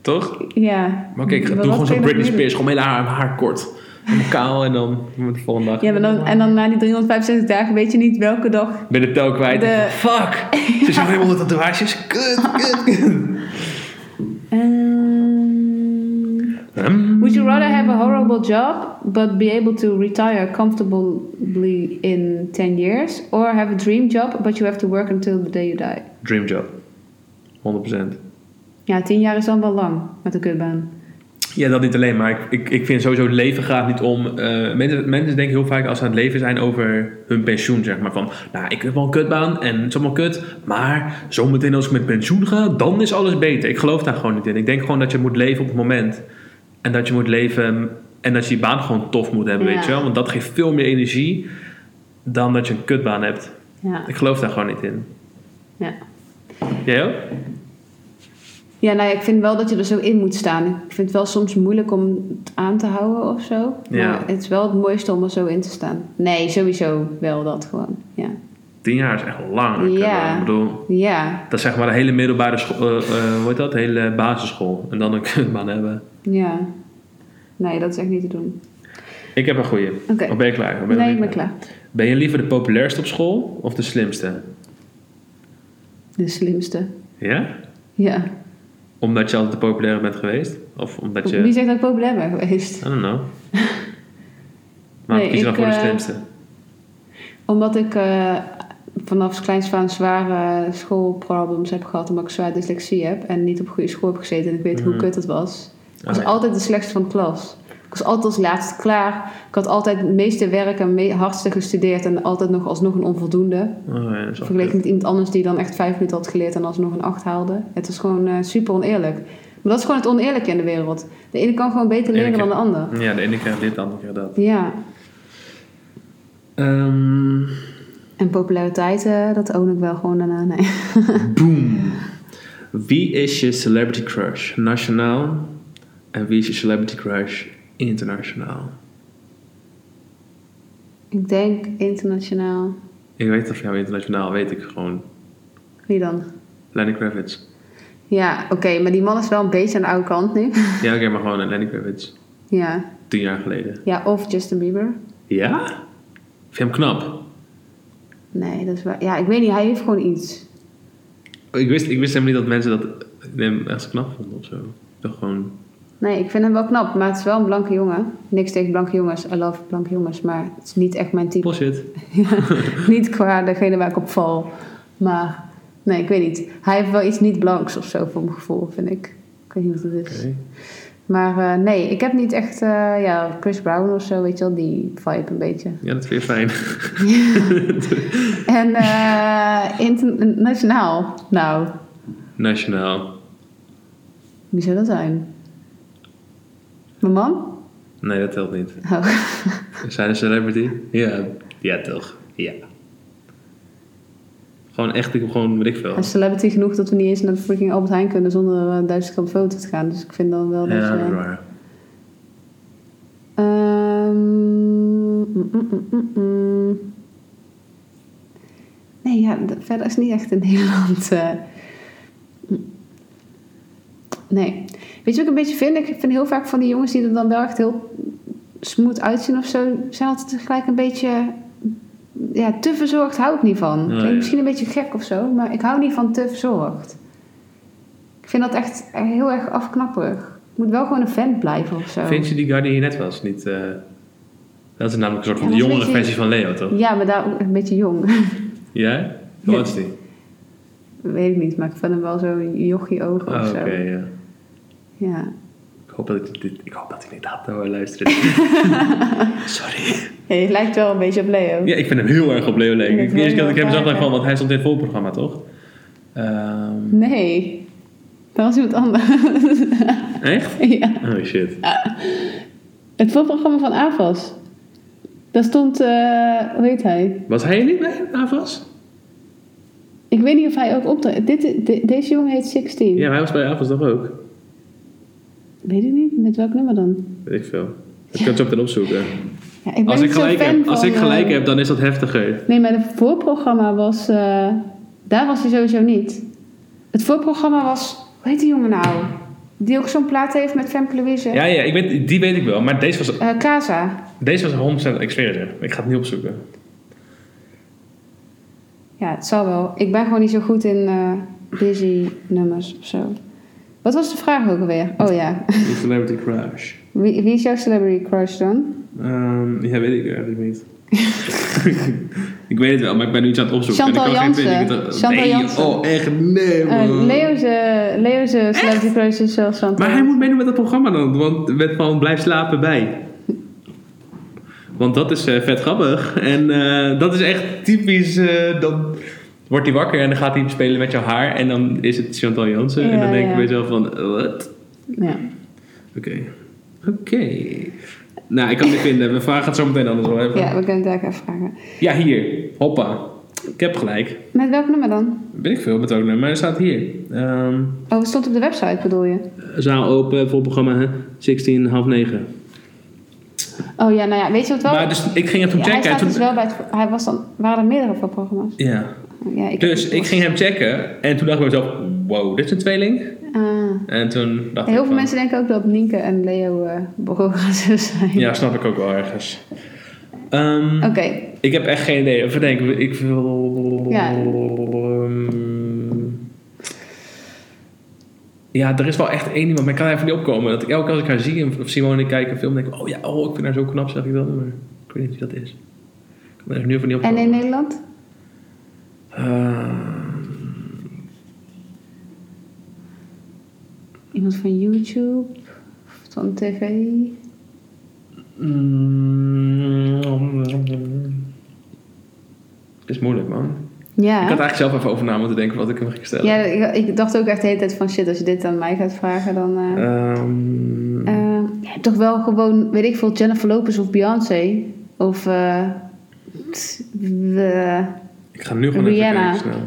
S2: toch?
S1: Ja.
S2: Maar kijk, ik ga-
S1: Wat
S2: doe gewoon zo'n
S1: kun je
S2: Britney
S1: nog meer
S2: Spears. Gewoon mijn haar, haar kort. Helemaal kaal en dan de volgende dag.
S1: doen? Ja, maar dan, en dan na die 365 dagen weet je niet welke dag...
S2: ben de tel kwijt.
S1: De-
S2: Fuck! Ze is nog helemaal onder tatoeages. Kut, kut, kut.
S1: Ehm,
S2: Hm?
S1: Would you rather have a horrible job but be able to retire comfortably in 10 years? Or have a dream job but you have to work until the day you die?
S2: Dream job. 100%.
S1: Ja, 10 jaar is dan wel lang met een kutbaan.
S2: Ja, dat niet alleen, maar ik, ik, ik vind sowieso het leven gaat niet om. eh, mensen, mensen denken heel vaak als ze aan het leven zijn over hun pensioen, zeg maar. Van, nou, ik heb wel een kutbaan en het is allemaal kut, maar zometeen als ik met pensioen ga, dan is alles beter. Ik geloof daar gewoon niet in. Ik denk gewoon dat je moet leven op het moment. En dat je moet leven en dat je die baan gewoon tof moet hebben,
S1: Ja.
S2: weet je wel. Want dat geeft veel meer energie dan dat je een kutbaan hebt.
S1: Ja.
S2: Ik geloof daar gewoon niet in.
S1: Ja.
S2: Jij ook?
S1: ja, nou ja, ik vind wel dat je er zo in moet staan. Ik vind het wel soms moeilijk om het aan te houden of zo. Maar
S2: Ja.
S1: het is wel het mooiste om er zo in te staan. Nee, sowieso wel dat gewoon. Ja.
S2: Tien jaar is echt lang. een
S1: Ja.
S2: kutbaan. Ik bedoel,
S1: Ja.
S2: Dat is zeg maar de hele middelbare school, eh, eh, hoe heet dat? De hele basisschool. En dan een kutbaan hebben.
S1: Ja. Nee, dat is echt niet te doen.
S2: Ik heb een goeie.
S1: Oké.
S2: Of ben je klaar? Of ben je
S1: Nee, ik
S2: niet
S1: ben klaar.
S2: Ben je liever de populairste op school of de slimste?
S1: De slimste.
S2: Ja?
S1: Ja.
S2: Omdat je altijd de populaire bent geweest? Of omdat je...
S1: Wie zegt dat ik populair ben geweest?
S2: I don't know. Maar
S1: Nee,
S2: kies dan
S1: ik,
S2: voor de
S1: eh,
S2: slimste.
S1: Omdat ik eh, vanaf kleins van zware schoolproblems heb gehad. Omdat ik zwaar dyslexie heb. En niet op goede school heb gezeten. En ik weet hoe
S2: Mhm.
S1: kut dat was. Ik was
S2: Ah, ja.
S1: altijd de slechtste van de klas. Ik was altijd als laatste klaar. Ik had altijd het meeste werk en me- hardste gestudeerd. En altijd nog alsnog een onvoldoende.
S2: Oh, ja, dat is wel
S1: Vergeleken
S2: kut.
S1: met iemand anders die dan echt vijf minuten had geleerd en alsnog een acht haalde. Het is gewoon eh, super oneerlijk. Maar dat is gewoon het oneerlijke in de wereld. De ene kan gewoon beter
S2: De ene
S1: leren dan de ander.
S2: Ja, de ene krijgt dit, de andere krijgt dat.
S1: Ja,
S2: Ehm,
S1: en populariteit, eh, dat own ik wel gewoon daarna. Nee.
S2: boom. Wie is je celebrity crush nationaal? En wie is je celebrity crush internationaal?
S1: Ik denk internationaal.
S2: Ik weet of jou internationaal weet ik gewoon.
S1: Wie dan?
S2: Lenny Kravitz.
S1: Ja, oké, maar die man is wel een beetje aan de oude kant nu.
S2: Ja, oké, maar gewoon een Lenny Kravitz.
S1: ja.
S2: Tien jaar geleden.
S1: ja, of Justin Bieber.
S2: Ja? Vind je hem knap?
S1: Nee, dat is waar. Ja, ik weet niet, hij heeft gewoon iets.
S2: Ik wist, ik wist helemaal niet dat mensen dat eh, hem echt knap vonden of zo. Ik dacht gewoon...
S1: Nee, ik vind hem wel knap, maar het is wel een blanke jongen. Niks tegen blanke jongens, I love blanke jongens, maar het is niet echt mijn type.
S2: Bullshit.
S1: niet qua degene waar ik op val. Maar nee, ik weet niet. Hij heeft wel iets niet blanks of zo voor mijn gevoel, vind ik. Ik weet niet wat het is.
S2: Oké.
S1: Maar eh, nee, ik heb niet echt eh, ja, Chris Brown of zo, weet je wel, die vibe een beetje.
S2: Ja, dat vind je fijn.
S1: En eh, internationaal, nou,
S2: Nationaal.
S1: wie zou dat zijn? Mijn man?
S2: Nee, dat telt niet.
S1: Oh.
S2: Zijn een celebrity? Ja. Ja, toch. Ja. Gewoon echt, ik gewoon, weet ik veel.
S1: Een celebrity genoeg dat we niet eens naar de freaking Albert Heijn kunnen zonder eh, duizend kant foto te gaan. Dus ik vind dan wel dat
S2: Ja,
S1: je...
S2: dat is waar.
S1: Ehm, mm, mm, mm, mm, mm. Nee, ja, d- verder is niet echt in Nederland. eh, mm. nee. Weet je wat ik een beetje vind? Ik vind heel vaak van die jongens die er dan wel echt heel smooth uitzien of zo, zijn altijd gelijk een beetje. Ja, te verzorgd hou ik niet van.
S2: Oh,
S1: Klinkt
S2: ja.
S1: misschien een beetje gek of zo, maar ik hou niet van te verzorgd. Ik vind dat echt heel erg afknapperig. Ik moet wel gewoon een fan blijven of zo.
S2: Vind je die guy die hier net was niet... eh, Dat is namelijk een soort
S1: Ja, dat is
S2: van de jongere
S1: een beetje-
S2: versie van Leo, toch?
S1: Ja, maar daar ook een beetje jong.
S2: Ja? Hoe
S1: Ja.
S2: oud is die?
S1: Weet ik niet, maar ik vind hem wel zo'n jochie ogen
S2: Ah,
S1: of
S2: oké,
S1: zo.
S2: ja.
S1: Ja.
S2: Ik hoop dat ik dit, ik hoop dat ik dit had hoor, luisteren. Sorry.
S1: ja, je lijkt wel een beetje op Leo.
S2: Ja, ik vind hem heel erg op Leo
S1: Ik
S2: lijken.
S1: vind
S2: Ik
S1: het
S2: eerst dat ik
S1: heel
S2: hem zag,
S1: erg
S2: dacht ik van,
S1: leuk.
S2: want hij stond in het volprogramma, toch? Ehm,
S1: Nee, dat was iemand anders.
S2: echt?
S1: ja.
S2: Oh shit.
S1: Het voorprogramma van AVAS. Daar stond, eh, hoe heet hij?
S2: Was hij er niet bij, Avas?
S1: Ik weet niet of hij ook optreedt. Dit, de- deze jongen heet 16.
S2: Ja, maar hij was bij Avonddag ook.
S1: Weet ik niet. Met welk nummer dan?
S2: Weet ik veel. Ik kan het zo meteen opzoeken.
S1: Ja, ik ben
S2: Als
S1: niet
S2: ik,
S1: zo'n
S2: gelijk
S1: fan
S2: heb,
S1: van,
S2: als ik
S1: eh,
S2: gelijk heb, dan is dat heftiger.
S1: Nee, maar het voorprogramma was... eh, daar was hij sowieso niet. Het voorprogramma was... Hoe heet die jongen nou? Die ook zo'n plaat heeft met Femke Louise.
S2: Ja, ja, ik weet, die weet ik wel. Maar deze was,
S1: Eh, Casa.
S2: deze was 100% Xperia. Ik ga het niet opzoeken.
S1: Ja, het zal wel. Ik ben gewoon niet zo goed in eh busy nummers of zo. Wat was de vraag ook alweer? Oh ja.
S2: Celebrity Crash.
S1: Wie, wie is jouw celebrity crush dan?
S2: Ehm, ja, weet ik eigenlijk niet. ik weet het wel, maar ik ben nu iets aan het opzoeken.
S1: Chantal
S2: en ik kan
S1: Jansen.
S2: geen twee dingen te-
S1: Chantal
S2: nee,
S1: Jansen.
S2: Oh, echt nee,
S1: Eh
S2: man.
S1: Leo's, eh, Leo's eh, celebrity crush is zelfs aan
S2: maar hij moet meedoen met dat programma dan, want met van blijf slapen bij. Want dat is eh, vet grappig. En eh, dat is echt typisch. eh, dan wordt hij wakker en dan gaat hij spelen met jouw haar. En dan is het Chantal Jansen. en
S1: Ja,
S2: dan denk ik
S1: ja.
S2: bij mezelf van, eh, wat?
S1: Ja.
S2: Oké. Oké. Nou, ik kan het niet vinden. We vragen het zo meteen anders wel even.
S1: ja, we kunnen het daar even vragen.
S2: Ja, hier. Hoppa. Ik heb gelijk.
S1: Met welk nummer dan?
S2: Weet ik veel met welk nummer. Het staat hier. Ehm,
S1: Oh, het stond op de website bedoel je?
S2: zaal open voor programma hè? 16, half 9.
S1: Oh ja, nou ja, weet je wat wel?
S2: Maar dus ik ging het toen
S1: Ja, hij
S2: checken. en
S1: staat
S2: toen-
S1: dus wel bij het... Hij was dan... Waren er meerdere van programma's?
S2: ja.
S1: Ja, ik,
S2: Dus ik ging hem checken. En toen dacht ik bij mezelf, wow, dit is een tweeling.
S1: Ah.
S2: En toen dacht ik
S1: Heel veel
S2: van-
S1: mensen denken ook dat Nienke en Leo eh broer zijn.
S2: Ja, snap ik ook wel ergens. Ehm,
S1: Oké,
S2: Ik heb echt geen idee. Even denken. Ik wil...
S1: Ja.
S2: Ehm, ja, er is wel echt één iemand. Maar ik kan er even niet opkomen. Dat ik elke keer als ik haar zie of Simone kijk een film... denk ik, oh ja, oh, ik vind haar zo knap, zeg ik dan. Maar ik weet niet wie dat is. Ik kan er even nu even niet
S1: en
S2: opkomen.
S1: in Nederland?
S2: Ehm,
S1: Iemand van YouTube? Of van tv?
S2: mm, is moeilijk, man. Ik had
S1: Ja.
S2: eigenlijk zelf even over na moeten denken wat ik hem ging stellen.
S1: Ja, ik, ik dacht ook echt de hele tijd van shit, als je dit aan mij gaat vragen, dan... eh
S2: Ehm,
S1: eh, je hebt toch wel gewoon, weet ik veel, Jennifer Lopez of Beyoncé? Of... eh, t- we-
S2: ik ga nu gewoon even
S1: Rihanna.
S2: kijken snel.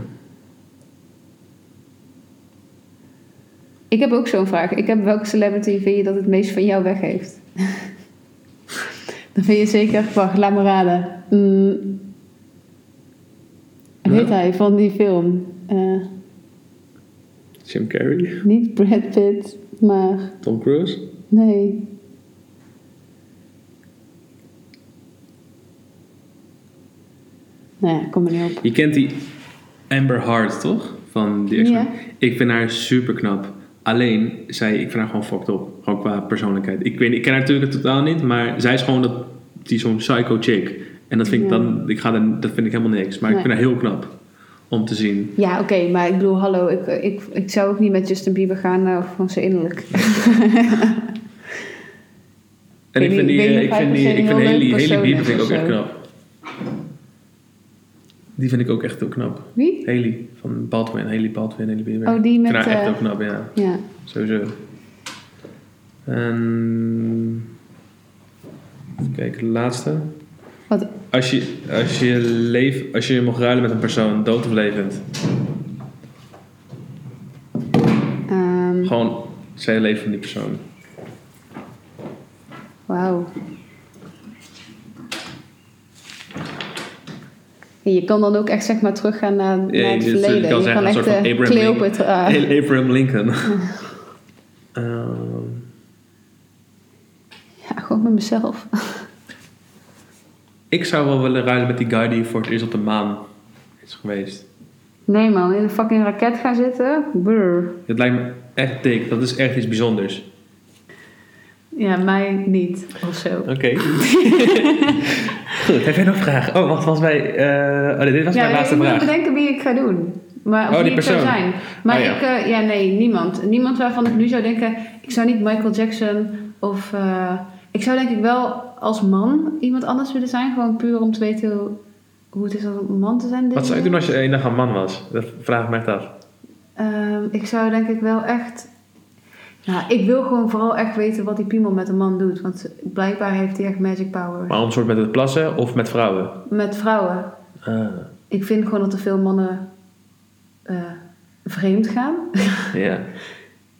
S1: ik heb ook zo'n vraag. Ik heb welke celebrity vind je dat het meest van jou weggeeft? dan vind je zeker... Wacht, laat me raden. Mm. Hoe heet
S2: Ja.
S1: hij van die film? Eh,
S2: Jim Carrey.
S1: niet Brad Pitt, maar...
S2: Tom Cruise?
S1: Nee. Nou ja, kom er niet op.
S2: Je kent die Amber Hart, toch? Van die
S1: Ja.
S2: Ik vind haar super knap. Alleen, zij, ik vind haar gewoon fucked op. Gewoon qua persoonlijkheid. Ik, weet, ik ken haar natuurlijk totaal niet, maar zij is gewoon dat, die zo'n psycho chick. En dat vind ik
S1: Ja.
S2: dan, ik ga dan, dat vind ik helemaal niks. Maar ik
S1: Nee.
S2: vind haar heel knap om te zien.
S1: Ja, oké, maar ik bedoel, hallo, ik, ik, ik zou ook niet met Justin Bieber gaan eh, van zijn innerlijk.
S2: En ik
S1: weet
S2: vind
S1: niet-
S2: die,
S1: ik weet
S2: eh,
S1: niet
S2: ik
S1: of
S2: vind
S1: hij per se een
S2: die, ik vind
S1: heel leuk
S2: Haley, Haley Bieber
S1: persoon
S2: vind ik
S1: is
S2: ook echt
S1: of
S2: knap. Die vind ik ook echt heel knap.
S1: Wie?
S2: Haley van Baldwin, Haley Baldwin, Haley Bieber.
S1: Oh, die
S2: Ik
S1: met...
S2: vind haar echt
S1: eh,
S2: ook knap, ja.
S1: ja.
S2: Sowieso. En... Even kijken, de laatste.
S1: Wat?
S2: Als je, als, je leef, als je mocht ruilen met een persoon, dood of levend.
S1: ehm,
S2: Gewoon zij leven van die persoon.
S1: Wauw. Ja, Je kan dan ook echt zeg maar teruggaan naar,
S2: je
S1: naar het
S2: zit- je
S1: verleden.
S2: kan
S1: je
S2: zeggen,
S1: kan
S2: een
S1: echt
S2: soort van
S1: eh,
S2: Abraham Lincoln.
S1: Cleopatra.
S2: Heel Abraham Lincoln. Ehm,
S1: Ja, gewoon met mezelf.
S2: ik zou wel willen ruilen met die guy die voor het eerst op de maan is geweest.
S1: Nee man, in een fucking raket gaan zitten. Brr.
S2: Dat lijkt me echt dik. Dat is echt iets bijzonders.
S1: Ja, mij niet. Of zo.
S2: Oké. Goed, heb jij nog vragen? Oh, wacht, volgens mij... eh, oh, nee, dit was
S1: ja,
S2: mijn laatste
S1: ik
S2: vraag.
S1: moet bedenken wie ik ga doen. Maar, of
S2: Oh,
S1: wie
S2: die
S1: ik
S2: persoon.
S1: zou zijn. Maar
S2: Oh, ja.
S1: ik, eh, ja nee, niemand. Niemand waarvan ik nu zou denken, ik zou niet Michael Jackson of... eh, ik zou denk ik wel als man iemand anders willen zijn. Gewoon puur om te weten hoe, hoe het is om een man te zijn. dit
S2: Wat zou je
S1: jaar.
S2: doen als je één dag een man was? Dat vraag ik me echt af.
S1: Ehm, ik zou denk ik wel echt... Ja, ik wil gewoon vooral echt weten wat die piemel met een man doet. Want blijkbaar heeft hij echt magic power.
S2: Maar om soort met het plassen of met vrouwen?
S1: Met vrouwen.
S2: Ah.
S1: Ik vind gewoon dat er veel mannen eh, vreemd gaan.
S2: Ja.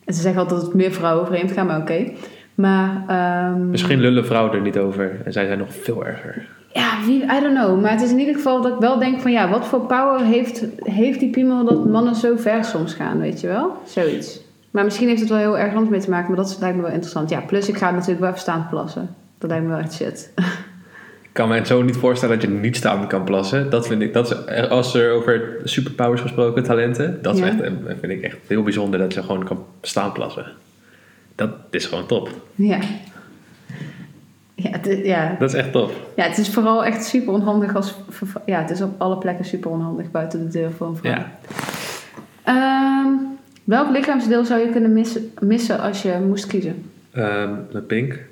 S1: En ze zeggen altijd dat meer vrouwen vreemd gaan, maar oké. Maar ehm,
S2: Misschien lullen vrouwen er niet over. En zij zijn nog veel erger.
S1: ja, wie, I don't know. Maar het is in ieder geval dat ik wel denk van ja, wat voor power heeft, heeft die piemel dat mannen zo ver soms gaan, weet je wel? Zoiets. Maar misschien heeft het wel heel erg anders mee te maken, maar dat is- lijkt me wel interessant. Ja, plus ik ga natuurlijk wel even staan plassen. Dat lijkt me wel echt shit.
S2: Ik kan me het zo niet voorstellen dat je niet staand kan plassen. Dat vind ik, dat is, eh, als er over superpowers gesproken, talenten. Dat is
S1: Ja.
S2: echt, eh, vind ik echt heel bijzonder dat je gewoon kan staan plassen. Dat is gewoon top.
S1: Ja. Ja het, is- ja.
S2: Dat is echt top.
S1: ja, het is vooral echt super onhandig als... verva- Ja, het is op alle plekken super onhandig buiten de deur voor een vrouw.
S2: Ja.
S1: Ehm, welk lichaamsdeel zou je kunnen missen, missen als je moest kiezen?
S2: Ehm, met pink.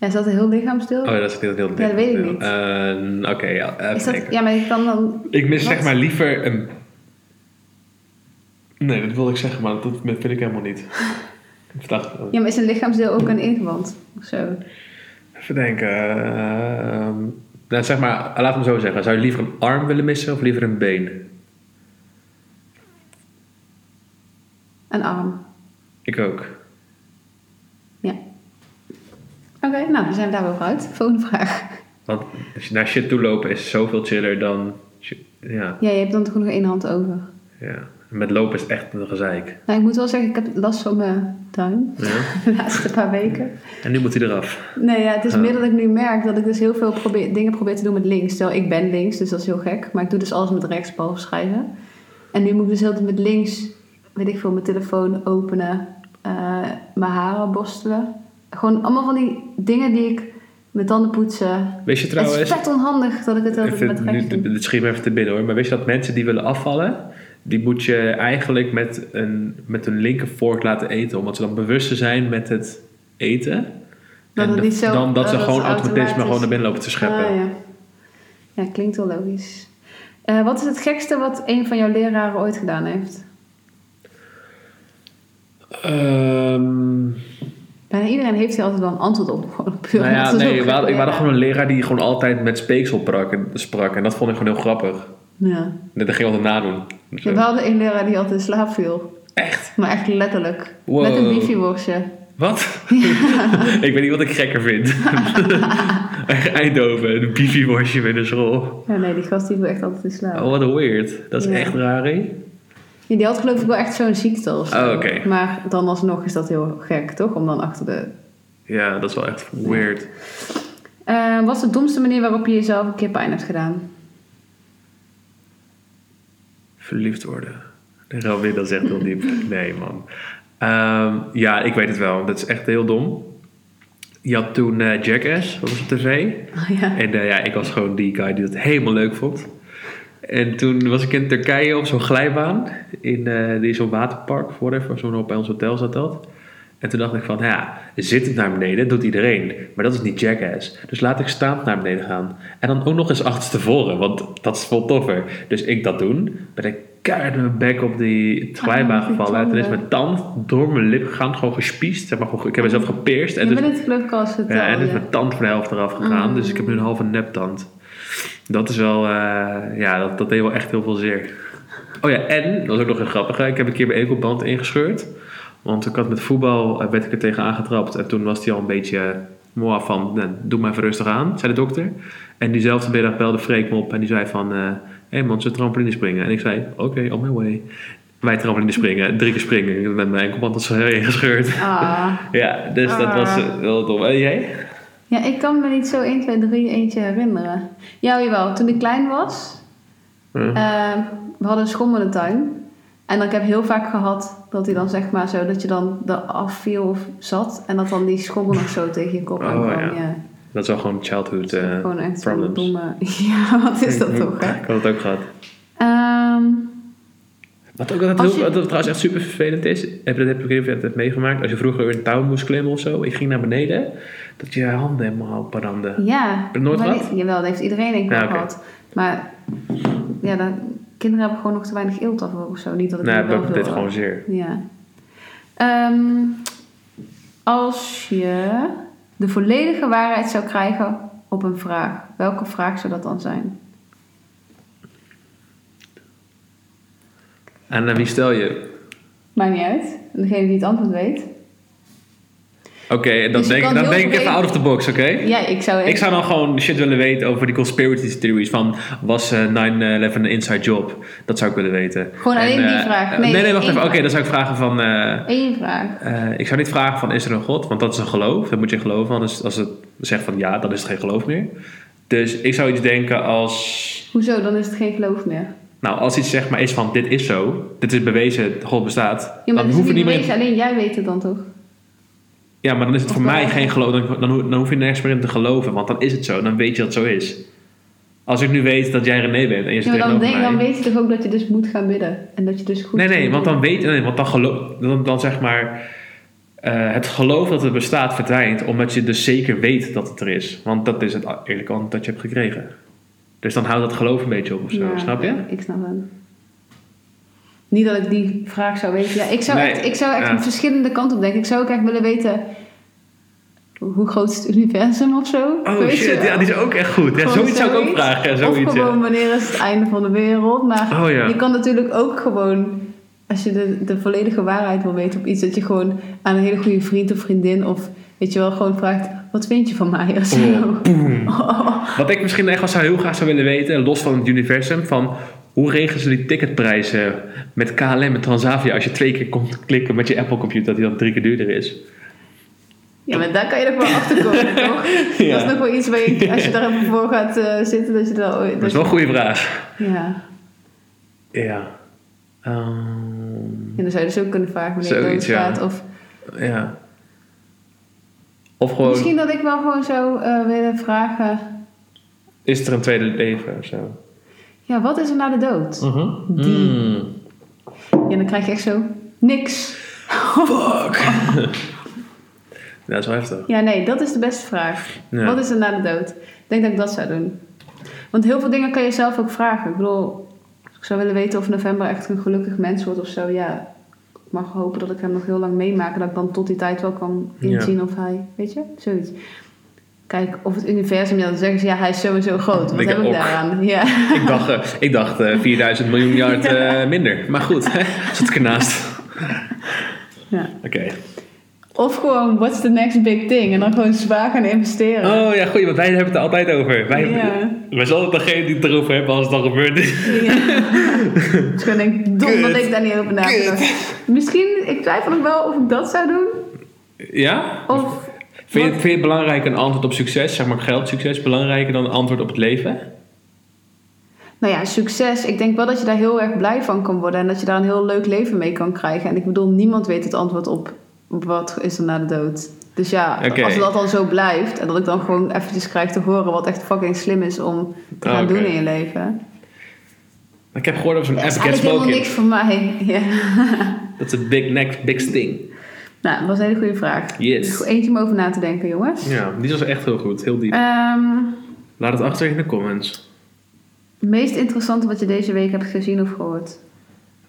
S1: Ja, is dat een heel lichaamsdeel?
S2: Oh, dat is niet heel dik.
S1: Ja, dat weet ik niet.
S2: Ehm, Oké, ja. even
S1: is dat,
S2: denken.
S1: ja, maar je kan dan...
S2: Ik mis
S1: Wat?
S2: zeg maar liever een... Nee, dat wilde ik zeggen, maar dat vind ik helemaal niet. Ik dacht,
S1: Ja, maar is een lichaamsdeel ook een ingewand? Of zo?
S2: even denken. ehm, nou, zeg maar, laat me zo zeggen. Zou je liever een arm willen missen of liever een been?
S1: Een arm.
S2: Ik ook.
S1: Ja. Oké, nou, dan zijn we daar wel voor uit. Volgende vraag.
S2: Want als je naar shit toe lopen is zoveel chiller dan... shit- Ja,
S1: Ja, je hebt dan toch nog één hand over.
S2: ja. Met lopen is het echt een gezeik.
S1: Nou, ik moet wel zeggen, ik heb last van mijn duim.
S2: Ja?
S1: De laatste paar weken.
S2: En nu moet hij eraf.
S1: Nee, ja, het is meer dat ik nu merk dat ik dus heel veel probeer, dingen probeer te doen met links. Terwijl ik ben links, dus dat is heel gek. Maar ik doe dus alles met rechts, behalve schrijven. En nu moet ik dus heel de tijd met links, weet ik veel, mijn telefoon openen. eh, mijn haren borstelen. Gewoon allemaal van die dingen die ik met tanden poetsen.
S2: Weet je trouwens...
S1: het is vet onhandig dat ik het heel
S2: Ik
S1: de tijd
S2: vind,
S1: met
S2: nu,
S1: rechts doe.
S2: dit schiet me even te binnen hoor. Maar wist je dat mensen die willen afvallen... die moet je eigenlijk met, een, met hun linker vork laten eten. Omdat ze dan bewust zijn met het eten.
S1: Dat
S2: en
S1: het
S2: de-
S1: niet zo-
S2: dan dat
S1: oh,
S2: ze
S1: dat
S2: gewoon
S1: het
S2: automatisme
S1: automatisch-
S2: gewoon naar binnen lopen te scheppen.
S1: Ah, ja. ja, klinkt wel logisch. Eh, wat is het gekste wat een van jouw leraren ooit gedaan heeft?
S2: Ehm,
S1: Bijna iedereen heeft hier altijd wel een antwoord op. Gewoon puur
S2: nou ja,
S1: omdat ze zo
S2: nee, we
S1: gek
S2: hadden, ik had
S1: waren.
S2: gewoon een leraar die gewoon altijd met speeksel sprak en, sprak. En dat vond ik gewoon heel grappig.
S1: Ja.
S2: Dat ging altijd nadoen. Zo.
S1: We hadden één leraar die altijd in slaap viel.
S2: Echt?
S1: Maar echt letterlijk.
S2: Wow.
S1: Met een bifi-worstje.
S2: Wat? ik weet niet wat ik gekker vind. Eindhoven, een bifi-worstje binnen school.
S1: Ja, nee, die gast die viel echt altijd in slaap.
S2: Oh, wat weird. Dat is
S1: Ja.
S2: echt raar, hè?
S1: Ja, die had geloof ik wel echt zo'n ziekte of zo.
S2: Oh, oké.
S1: Maar dan alsnog is dat heel gek, toch? Om dan achter de...
S2: Ja, dat is wel echt weird.
S1: Eh, wat is de domste manier waarop je jezelf een keer pijn hebt gedaan?
S2: Verliefd worden. Robin, dat is echt heel diep. Nee, man. Ehm, ja, ik weet het wel. Dat is echt heel dom. Je had toen eh, Jackass, dat was op tv.
S1: Oh, ja.
S2: En eh, ja, ik was gewoon die guy die dat helemaal leuk vond. En toen was ik in Turkije op zo'n glijbaan. In eh, die- zo'n waterpark, of whatever. Zo'n bij ons hotel zat dat. En toen dacht ik van, ja, zittend naar beneden doet iedereen. Maar dat is niet jackass. Dus laat ik staand naar beneden gaan. En dan ook nog eens achterstevoren, want dat is veel toffer. Dus ik dat doen. Ben ik keihard met mijn bek op die glijbaan
S1: Ah, die
S2: gevallen. En toen is
S1: tanden.
S2: mijn tand door mijn lip gegaan. Gewoon gespiest. Zeg maar, gewoon, ik heb mezelf gepierst. En
S1: je
S2: dus-
S1: bent het geloof ik al eens
S2: ja, en
S1: verteld.
S2: dus
S1: ja.
S2: mijn tand van de helft eraf gegaan.
S1: Mm.
S2: Dus ik heb nu een halve neptand. Dat is wel... eh, ja, dat, dat deed wel echt heel veel zeer. Oh ja, en... Dat is ook nog een grappige. Ik heb een keer mijn enkelband ingescheurd. Want ik had met voetbal... eh, werd ik er tegen aangetrapt. En toen was hij al een beetje... Moa van, nou, doe maar even rustig aan, zei de dokter. En diezelfde middag belde Freek me op en die zei van... eh, Hé hey man, ze trampoline springen? En ik zei, oké, on my way. Wij trampoline springen, drie keer springen. Ik heb met mijn enkelband dat ze ingescheurd.
S1: Ah.
S2: Ja, dus dat
S1: Ah.
S2: was eh, wel dom. En jij?
S1: Ja, ik kan me niet zo 1, 2, 3 eentje herinneren. Ja, jawel. Toen ik klein was,
S2: Ja.
S1: Ehm, we hadden een schommelende tuin. En ik heb heel vaak gehad dat hij dan zeg maar zo dat je dan eraf viel of zat. En dat dan die schommel nog zo tegen je kop
S2: Oh,
S1: aankwam.
S2: ja.
S1: Ja.
S2: Dat is wel gewoon childhood eh,
S1: Gewoon echt zo'n
S2: problems.
S1: domme... Ja, wat is dat
S2: Ik-
S1: toch hè?
S2: Ik had het ook gehad.
S1: Ehm,
S2: Wat ook altijd
S1: Als
S2: heel,
S1: je-
S2: wat trouwens echt super vervelend is, heb, dat heb ik even net meegemaakt. Als je vroeger weer een touw moest klimmen of zo, ik ging naar beneden, dat je handen helemaal brandde.
S1: ja.
S2: je het nooit
S1: maar
S2: gehad?
S1: die- jawel, dat heeft iedereen denk ik
S2: Ja,
S1: wel
S2: oké.
S1: gehad. Maar ja, dan, kinderen hebben gewoon nog te weinig eelt af of zo. Niet dat ik
S2: nou,
S1: nu wel
S2: dat
S1: veel
S2: deed
S1: had.
S2: gewoon zeer.
S1: Ja. Ehm, als je de volledige waarheid zou krijgen op een vraag, welke vraag zou dat dan zijn?
S2: En aan wie stel je?
S1: Maakt niet uit. Degene die het antwoord weet.
S2: Oké, dan
S1: Dus je
S2: denk,
S1: kan
S2: dan
S1: heel
S2: denk ik
S1: breed-
S2: even out of the box, oké?
S1: Ja, ik zou...
S2: Ik zou dan gewoon shit willen weten over die conspiracy theories. Van was eh, 9-11 een inside job? Dat zou ik willen weten.
S1: Gewoon alleen die
S2: eh,
S1: vraag.
S2: Nee,
S1: Nee,
S2: nee, wacht
S1: één
S2: even. Oké,
S1: vraag.
S2: dan zou ik vragen van. eh,
S1: Eén vraag.
S2: eh, ik zou niet vragen van is er een God? Want dat is een geloof. Dat moet je geloven. Anders als het zegt van ja, dan is het geen geloof meer. Dus ik zou iets denken als.
S1: Hoezo? Dan is het geen geloof meer.
S2: Nou, als iets zeg maar is van dit is zo, dit is bewezen, God bestaat,
S1: Ja, maar
S2: dan
S1: dat is
S2: hoef je
S1: niet
S2: niet meer.
S1: bewezen. Alleen jij weet het dan toch?
S2: Ja, maar dan is het
S1: Of
S2: voor
S1: wel?
S2: mij geen geloof. Dan, dan, ho- dan hoef je nergens meer in te geloven, want dan is het zo. Dan weet je dat het zo is. Als ik nu weet dat jij René bent en je
S1: Ja,
S2: zit
S1: maar dan,
S2: tegenover
S1: denk,
S2: mij.
S1: dan weet je toch ook dat je dus moet gaan bidden. En dat je dus goed...
S2: nee, nee,
S1: moet
S2: want
S1: doen.
S2: dan weet nee, want dan geloof, dan, dan zeg maar eh, het geloof dat het bestaat verdwijnt, omdat je dus zeker weet dat het er is. Want dat is het eerlijke antwoord dat je hebt gekregen. Dus dan houdt dat geloof een beetje op of zo,
S1: Ja,
S2: snap je?
S1: Ik snap het. Niet dat ik die vraag zou weten. Ja, ik zou
S2: Nee,
S1: echt, ik zou echt
S2: ja.
S1: een verschillende kanten op denken. Ik zou ook echt willen weten hoe groot is het universum of zo.
S2: Oh
S1: Weet je
S2: shit,
S1: wel.
S2: ja, die is ook echt goed. Ja,
S1: Gewoon
S2: zoiets zou ik ook
S1: zoiets.
S2: vragen. Ja,
S1: of
S2: zoiets, ja.
S1: gewoon wanneer is het einde van de wereld. Maar
S2: Oh ja.
S1: je kan natuurlijk ook gewoon, als je de, de volledige waarheid wil weten op iets, dat je gewoon aan een hele goede vriend of vriendin of weet je wel, gewoon vraagt: wat vind je van mij? Of zo.
S2: Oh, boem. Wat ik misschien echt wel zou heel graag zou willen weten, los van het universum, van hoe regelen ze die ticketprijzen met KLM en Transavia als je twee keer komt klikken met je Apple computer, dat die dan drie keer duurder is?
S1: Ja, maar daar kan je nog wel achter komen, toch?
S2: Ja.
S1: Dat is nog wel iets waar je, als je daar even voor gaat eh, zitten, dat je daar ooit.
S2: Dat is wel een goede vraag.
S1: Ja.
S2: Ja. Ehm,
S1: En dan zou je dus ook kunnen vragen wanneer je
S2: Zoiets,
S1: doodgaat.
S2: ja.
S1: Of
S2: ja. Of gewoon,
S1: misschien dat ik wel gewoon zou eh, willen vragen:
S2: is er een tweede leven of zo?
S1: ja, wat is er na de dood?
S2: Oh.
S1: Die.
S2: Mm.
S1: Ja, dan krijg je echt zo niks.
S2: Fuck. dat is wel heftig.
S1: Ja, nee, dat is de beste vraag.
S2: Ja.
S1: Wat is er na de dood? Ik denk dat ik dat zou doen. Want heel veel dingen kan je zelf ook vragen. Ik bedoel, als ik zou willen weten of november echt een gelukkig mens wordt of zo, ja. Ik mag hopen dat ik hem nog heel lang meemaak. en Dat ik dan tot die tijd wel kan
S2: Ja.
S1: inzien of hij, weet je, zoiets. Kijk, of het universum, ja, dan zeggen ze ja, hij is sowieso groot. Wat
S2: Ik
S1: heb ik
S2: ook.
S1: daaraan? Ja.
S2: Ik dacht, eh, ik dacht eh, 4000 miljoen miljard eh, minder. Maar goed, zat ik ernaast.
S1: ja.
S2: Oké.
S1: Of gewoon, what's the next big thing? En dan gewoon zwaar gaan investeren.
S2: Oh ja, goed, want wij hebben het er altijd over. Wij,
S1: Ja.
S2: wij zijn altijd degene die het erover hebben als het al gebeurd is.
S1: Ja. dus ik denk, dom dat
S2: Kut.
S1: ik daar niet over na heb
S2: Kut.
S1: gedacht. Misschien, ik twijfel nog wel of ik dat zou doen.
S2: Ja?
S1: Of,
S2: Vind je, vind je het belangrijker een antwoord op succes, zeg maar geldsucces, belangrijker dan een antwoord op het leven?
S1: nou ja, succes. Ik denk wel dat je daar heel erg blij van kan worden. En dat je daar een heel leuk leven mee kan krijgen. En ik bedoel, niemand weet het antwoord op wat is er na de dood. Dus ja,
S2: Oké.
S1: als dat al zo blijft. En dat ik dan gewoon eventjes krijg te horen wat echt fucking slim is om te gaan
S2: Oké.
S1: doen in je leven.
S2: Ik heb gehoord over zo'n
S1: Dat is
S2: app, Get
S1: eigenlijk helemaal
S2: Smoking.
S1: niks voor mij. Ja.
S2: Dat is een big next, big sting.
S1: Nou, dat was een hele goede vraag.
S2: Yes.
S1: Eentje om over na te denken, jongens.
S2: Ja, die was echt heel goed, heel diep.
S1: Ehm,
S2: Laat het achter in de comments.
S1: meest interessante wat je deze week hebt gezien of gehoord?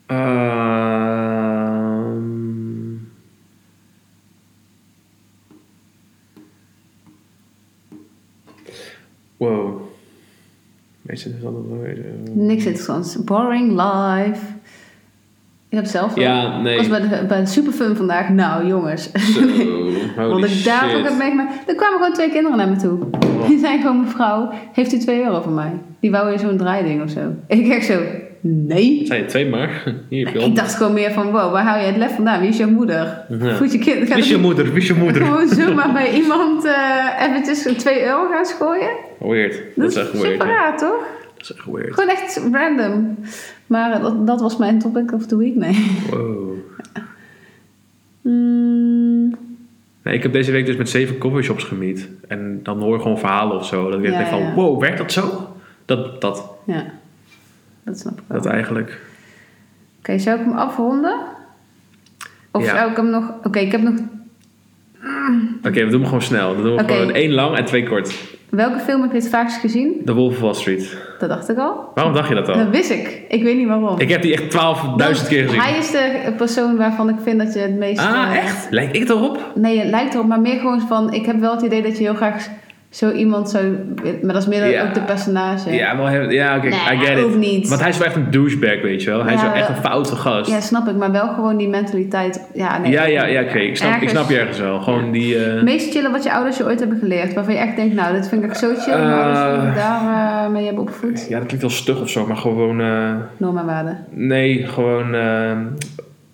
S2: Ehm, Wow. Meestal is dat wel weer, eh,
S1: Niks interessants. Boring life. Ik heb het zelf wel.
S2: Ja, nee.
S1: Ik was bij de, bij de superfun vandaag. Nou, jongens.
S2: Holy
S1: Want ik daar ook
S2: shit. Oh.
S1: heb meegemaakt. Er kwamen gewoon twee kinderen naar me toe. Die zijn gewoon, mevrouw, heeft u 2 euro van mij? Die wou weer zo'n draaiding of zo. Ik echt zo, nee.
S2: Zei je twee maar? Hier heb je
S1: Ik
S2: al.
S1: dacht gewoon meer van, wow, waar hou je het lef vandaan? Wie is jouw moeder?
S2: Ja.
S1: Goed, je kind.
S2: Wie is je moeder? Wie is je moeder?
S1: Gewoon zomaar bij iemand eh eventjes 2 euro gaan schooien.
S2: Weird.
S1: Dat,
S2: Dat is echt
S1: super
S2: weird. ja.
S1: raar, toch?
S2: Dat is echt weird.
S1: Gewoon echt random. Maar eh, dat, dat was mijn topic of the week, nee.
S2: Wow.
S1: Mm,
S2: Nee, ik heb deze week dus met zeven coffeeshops gemiet. En dan hoor je gewoon verhalen of zo. Dat ik
S1: Ja,
S2: denk van,
S1: ja.
S2: wow, werkt dat zo? Dat, dat,
S1: ja, dat snap ik wel.
S2: dat
S1: Oké,
S2: eigenlijk.
S1: zou ik hem afronden? Of
S2: Ja.
S1: zou ik hem nog... Oké, ik heb nog...
S2: Oké, we doen hem gewoon snel. Dan doen we
S1: Oké.
S2: gewoon één lang en twee kort.
S1: Welke film heb je het vaakst gezien?
S2: De Wolf of Wall Street.
S1: Dat dacht ik al.
S2: Waarom dacht je dat
S1: Dat
S2: al?
S1: wist ik. Ik weet niet waarom.
S2: Oh. Ik heb die echt 12.000 keer
S1: Want Hij
S2: gezien.
S1: is de persoon waarvan ik vind dat je het meest...
S2: Ah,
S1: eh,
S2: echt? Lijkt ik erop?
S1: Nee, het lijkt erop, maar meer gewoon van... Ik heb wel het idee dat je heel graag zo iemand zou... Maar dat is meer dan
S2: Ja.
S1: ook de personage.
S2: Ja, wel heel- ja oké,
S1: Nee,
S2: I get it.
S1: hoeft niet.
S2: Want hij is wel echt een douchebag, weet je wel. Hij is
S1: Ja,
S2: wel echt een
S1: wel-
S2: foute gast.
S1: Ja, snap ik. Maar wel gewoon die mentaliteit. Ja, nee,
S2: ja, ja, ja, oké. ik, snap, ik
S1: Ergens-
S2: snap je ergens wel. Gewoon die... eh,
S1: Het meest chillen wat je ouders je ooit hebben geleerd. Waarvan je echt denkt, nou, dit vind ik echt zo chill. dat Mijn ouders me daar eh, mee hebben opgevoed.
S2: ja, dat klinkt wel stug of zo, maar gewoon... eh,
S1: Normen en waarden.
S2: nee, gewoon... eh,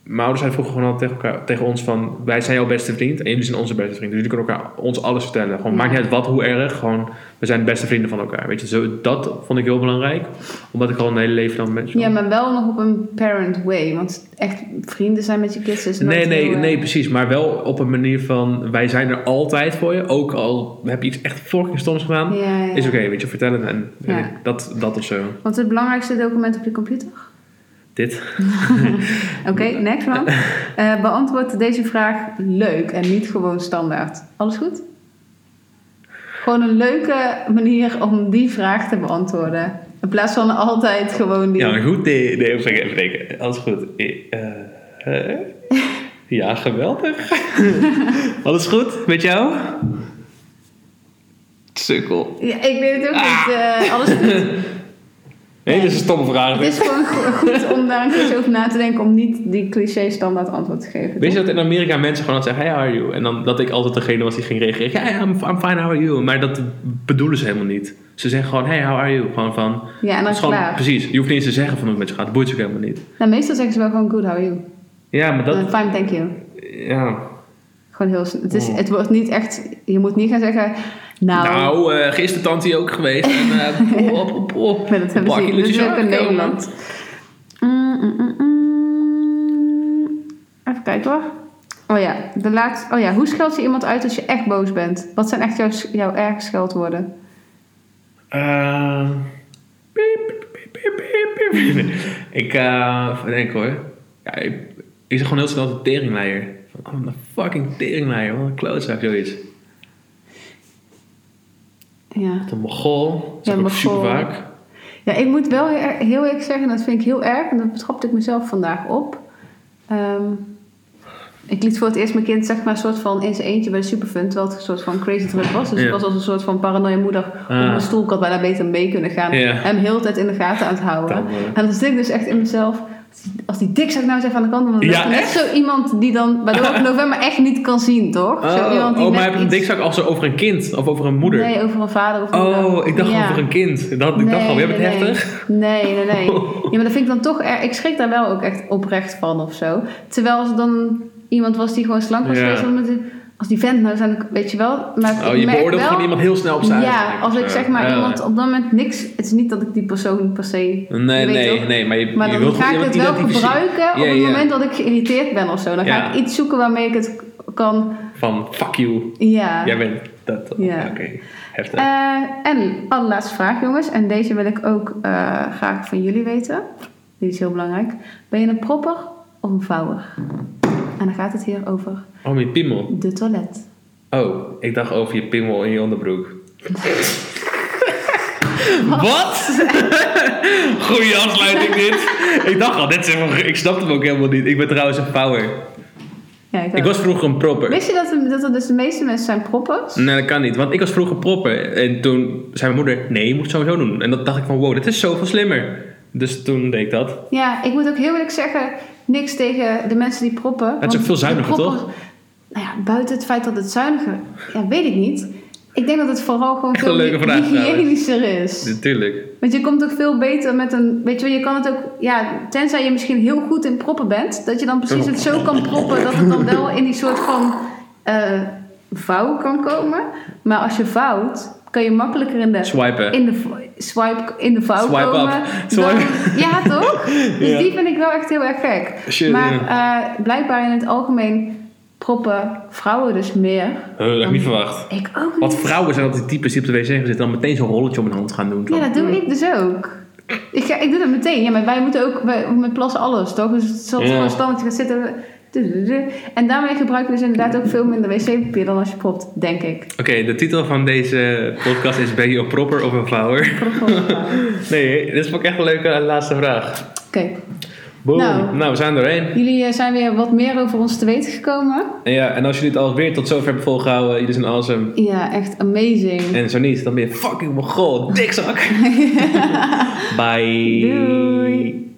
S2: mijn ouders zeiden vroeger gewoon altijd tegen, elkaar, tegen ons van... Wij zijn jouw beste vriend en jullie zijn onze beste vriend. Dus jullie kunnen elkaar ons alles vertellen. Gewoon,
S1: Ja.
S2: maakt niet uit wat, hoe erg. Gewoon, we zijn de beste vrienden van elkaar. Weet je, zo, dat vond ik heel belangrijk. Omdat ik al een hele leven lang mensen...
S1: Ja, maar wel nog op een parent way. Want echt vrienden zijn met je kids is nooit
S2: Nee, nee,
S1: heel, eh,
S2: nee, precies. Maar wel op een manier van... Wij zijn er altijd voor je. Ook al heb je iets echt fucking stoms gedaan.
S1: Ja, ja.
S2: Is oké, weet je, vertellen. En weet
S1: Ja.
S2: ik, dat, dat of zo.
S1: Want het belangrijkste document op je computer?
S2: Dit.
S1: Oké, next man. Eh, beantwoord deze vraag leuk en niet gewoon standaard. Alles goed? Gewoon een leuke manier om die vraag te beantwoorden. In plaats van altijd gewoon die...
S2: Ja, maar goed. Nee, nee even kijken, even denken. Alles goed. Eh, eh, ja, geweldig. Alles goed met jou? Sukkel.
S1: Ja, ik weet het ook
S2: Ah.
S1: niet. eh, alles goed.
S2: Nee, dit is een stomme vraag.
S1: Het is gewoon go- goed om daar een keertje over na te denken. Om niet die cliché standaard antwoord te geven.
S2: Weet je dat in Amerika mensen gewoon altijd zeggen, hey, how are you? En dan dat ik altijd degene was die ging reageren, ja, yeah, I'm, I'm fine, how are you? Maar dat bedoelen ze helemaal niet. Ze zeggen gewoon, hey, how are you? Gewoon van,
S1: Ja, en
S2: het
S1: dan
S2: is gewoon,
S1: klaar.
S2: precies, je hoeft niet eens te zeggen van hoe het met je gaat, dat boeit ze ook helemaal niet.
S1: Nou, meestal zeggen ze wel gewoon good, how are you?
S2: Ja, maar dat,
S1: Eh, Fine, thank you.
S2: ja.
S1: Gewoon heel snel. Het, is, het wordt niet echt... Je moet niet gaan zeggen... Nou,
S2: Oh. Nou, eh gisteren tante ook geweest. En, eh op, op, op.
S1: met het hebben
S2: Bakje
S1: zien. Dat is
S2: lutjes
S1: ook in
S2: aangekomen.
S1: Nederland. Mm, mm, mm, mm. Even kijken hoor. Oh ja, de laatste. Oh ja, hoe scheld je iemand uit als je echt boos bent? Wat zijn echt jouw, jouw erg scheldwoorden?
S2: Eh, piep, piep, piep, piep, piep. Ik eh, even denk hoor. Ja, ik, ik zeg gewoon heel snel de teringleier. Van, oh, een fucking teringleier. Wat een klootzak, zoiets.
S1: Ja.
S2: Wat een mogol. Dat
S1: Ja,
S2: zeg ik
S1: mogol.
S2: super vaak.
S1: Ja, ik moet wel he- heel eerlijk zeggen, dat vind ik heel erg. En dat betrapte ik mezelf vandaag op. Ehm, ik liet voor het eerst mijn kind zeg maar een soort van in zijn eentje bij de superfund. Terwijl het een soort van crazy druk was. Dus
S2: Ja.
S1: ik was als een soort van paranoia moeder op
S2: Ah.
S1: mijn stoel. Ik had bijna beter mee kunnen gaan.
S2: Ja.
S1: Hem heel de tijd in de gaten aan het houden.
S2: Dan, eh.
S1: en dan zit ik dus echt in mezelf. Als die dik nou eens even aan de kant. Want dat
S2: Ja,
S1: is net
S2: echt?
S1: zo iemand die dan... Waardoor ik november echt niet kan zien, toch? zo
S2: Oh,
S1: iemand
S2: oh, maar
S1: net
S2: heb je een
S1: iets-
S2: dikzak als over een kind? Of over een moeder?
S1: Nee, over een vader of
S2: Oh,
S1: moeder.
S2: ik dacht
S1: Ja.
S2: over een kind. Dat, ik dacht al, we hebben het
S1: nee,
S2: heftig.
S1: Nee, nee, nee. nee. Ja, maar dat vind ik dan toch... er- ik schrik daar wel ook echt oprecht van of zo. Terwijl als het dan iemand was die gewoon slank was
S2: Ja.
S1: geweest... dan moet ik- als die vent nou zijn, weet je wel... Maar
S2: Oh,
S1: ik
S2: je
S1: merk
S2: beoordeelt
S1: wel,
S2: gewoon iemand heel snel op zijn
S1: Ja,
S2: uiterlijk
S1: als
S2: of
S1: ik
S2: zo.
S1: zeg maar
S2: Ja.
S1: iemand op dat moment niks... Het is niet dat ik die persoon per se...
S2: Nee,
S1: je weet
S2: nee,
S1: toch?
S2: nee. Maar je,
S1: Maar
S2: je
S1: dan
S2: wilt
S1: ga ik
S2: gewoon
S1: het wel
S2: iemand identificeren.
S1: gebruiken op
S2: Ja,
S1: het
S2: ja.
S1: moment dat ik geïrriteerd ben of zo. Dan ga
S2: Ja.
S1: ik iets zoeken waarmee ik het kan...
S2: Van, fuck you.
S1: Ja.
S2: Jij bent dat.
S1: Ja.
S2: Oké, heftig.
S1: Eh, en allerlaatste vraag, jongens. En deze wil ik ook eh, graag van jullie weten. Die is heel belangrijk. Ben je een propper of een vouwer? En dan gaat het hier over
S2: Oh, je piemel.
S1: de toilet.
S2: Oh, ik dacht over je piemel in je onderbroek. Wat? Goeie afsluiting dit. Ik dacht al, dit is helemaal- ik snapte hem ook helemaal niet. Ik ben trouwens een power.
S1: Ja, ik
S2: Ik
S1: ook.
S2: was vroeger een propper.
S1: Wist je dat, dat er dus de meeste mensen zijn proppers?
S2: Nee, dat kan niet. Want ik was vroeger propper. En toen zei mijn moeder, nee, je moet het sowieso doen. En dat dacht ik van, wow, dit is zoveel slimmer. Dus toen deed ik dat.
S1: Ja, ik moet ook heel eerlijk zeggen, niks tegen de mensen die proppen.
S2: is
S1: want
S2: ook veel zuiniger,
S1: de
S2: toch?
S1: Nou ja, buiten het feit dat het zuiniger... Ja, weet ik niet. Ik denk dat het vooral gewoon
S2: Echt een
S1: veel
S2: leuke vraag, trouwens.
S1: hygiënischer is.
S2: Natuurlijk.
S1: Want je komt ook veel beter met een. Weet je, wel, je kan het ook. Ja, tenzij je misschien heel goed in proppen bent. Dat je dan precies het zo kan proppen dat het dan wel in die soort van eh, vouw kan komen. Maar als je vouwt, kan je makkelijker in de.
S2: Swipen.
S1: In de v- swipe in de vouw
S2: Swipe
S1: komen.
S2: up.
S1: dan-
S2: Swipe.
S1: ja, toch? Dus
S2: Ja.
S1: die vind ik wel echt heel erg gek.
S2: Shit,
S1: maar
S2: ja.
S1: eh, blijkbaar in het algemeen proppen vrouwen dus meer.
S2: Huh, dat had ik
S1: Ehm.
S2: niet verwacht.
S1: Ik ook niet.
S2: Want vrouwen zijn altijd die types die op de wc gaan zitten. Dan meteen zo'n rolletje om hun hand gaan doen.
S1: Ja, dat doe ik dus ook. Ik, ga, ik doe dat meteen. Ja, maar wij moeten ook wij, met plassen alles, toch? Dus het zal
S2: Ja.
S1: gewoon standaard gaan zitten. Dudududu. En daarmee gebruiken we dus inderdaad ook veel minder wc-papier dan als je propt, denk ik.
S2: Oké, de titel van deze podcast is Ben je een propper of een vouwer?
S1: Prop voor elkaar. Oké,
S2: Nee, dit vond ik echt een leuke laatste vraag. Boom.
S1: Nou.
S2: Nou, we zijn erheen.
S1: Jullie eh, zijn weer wat meer over ons te weten gekomen.
S2: En ja, en als jullie het alweer tot zover hebben volgehouden, jullie zijn awesome.
S1: Ja, echt amazing.
S2: En zo niet, dan ben je fucking mongool, dikzak. Bye.
S1: Doei.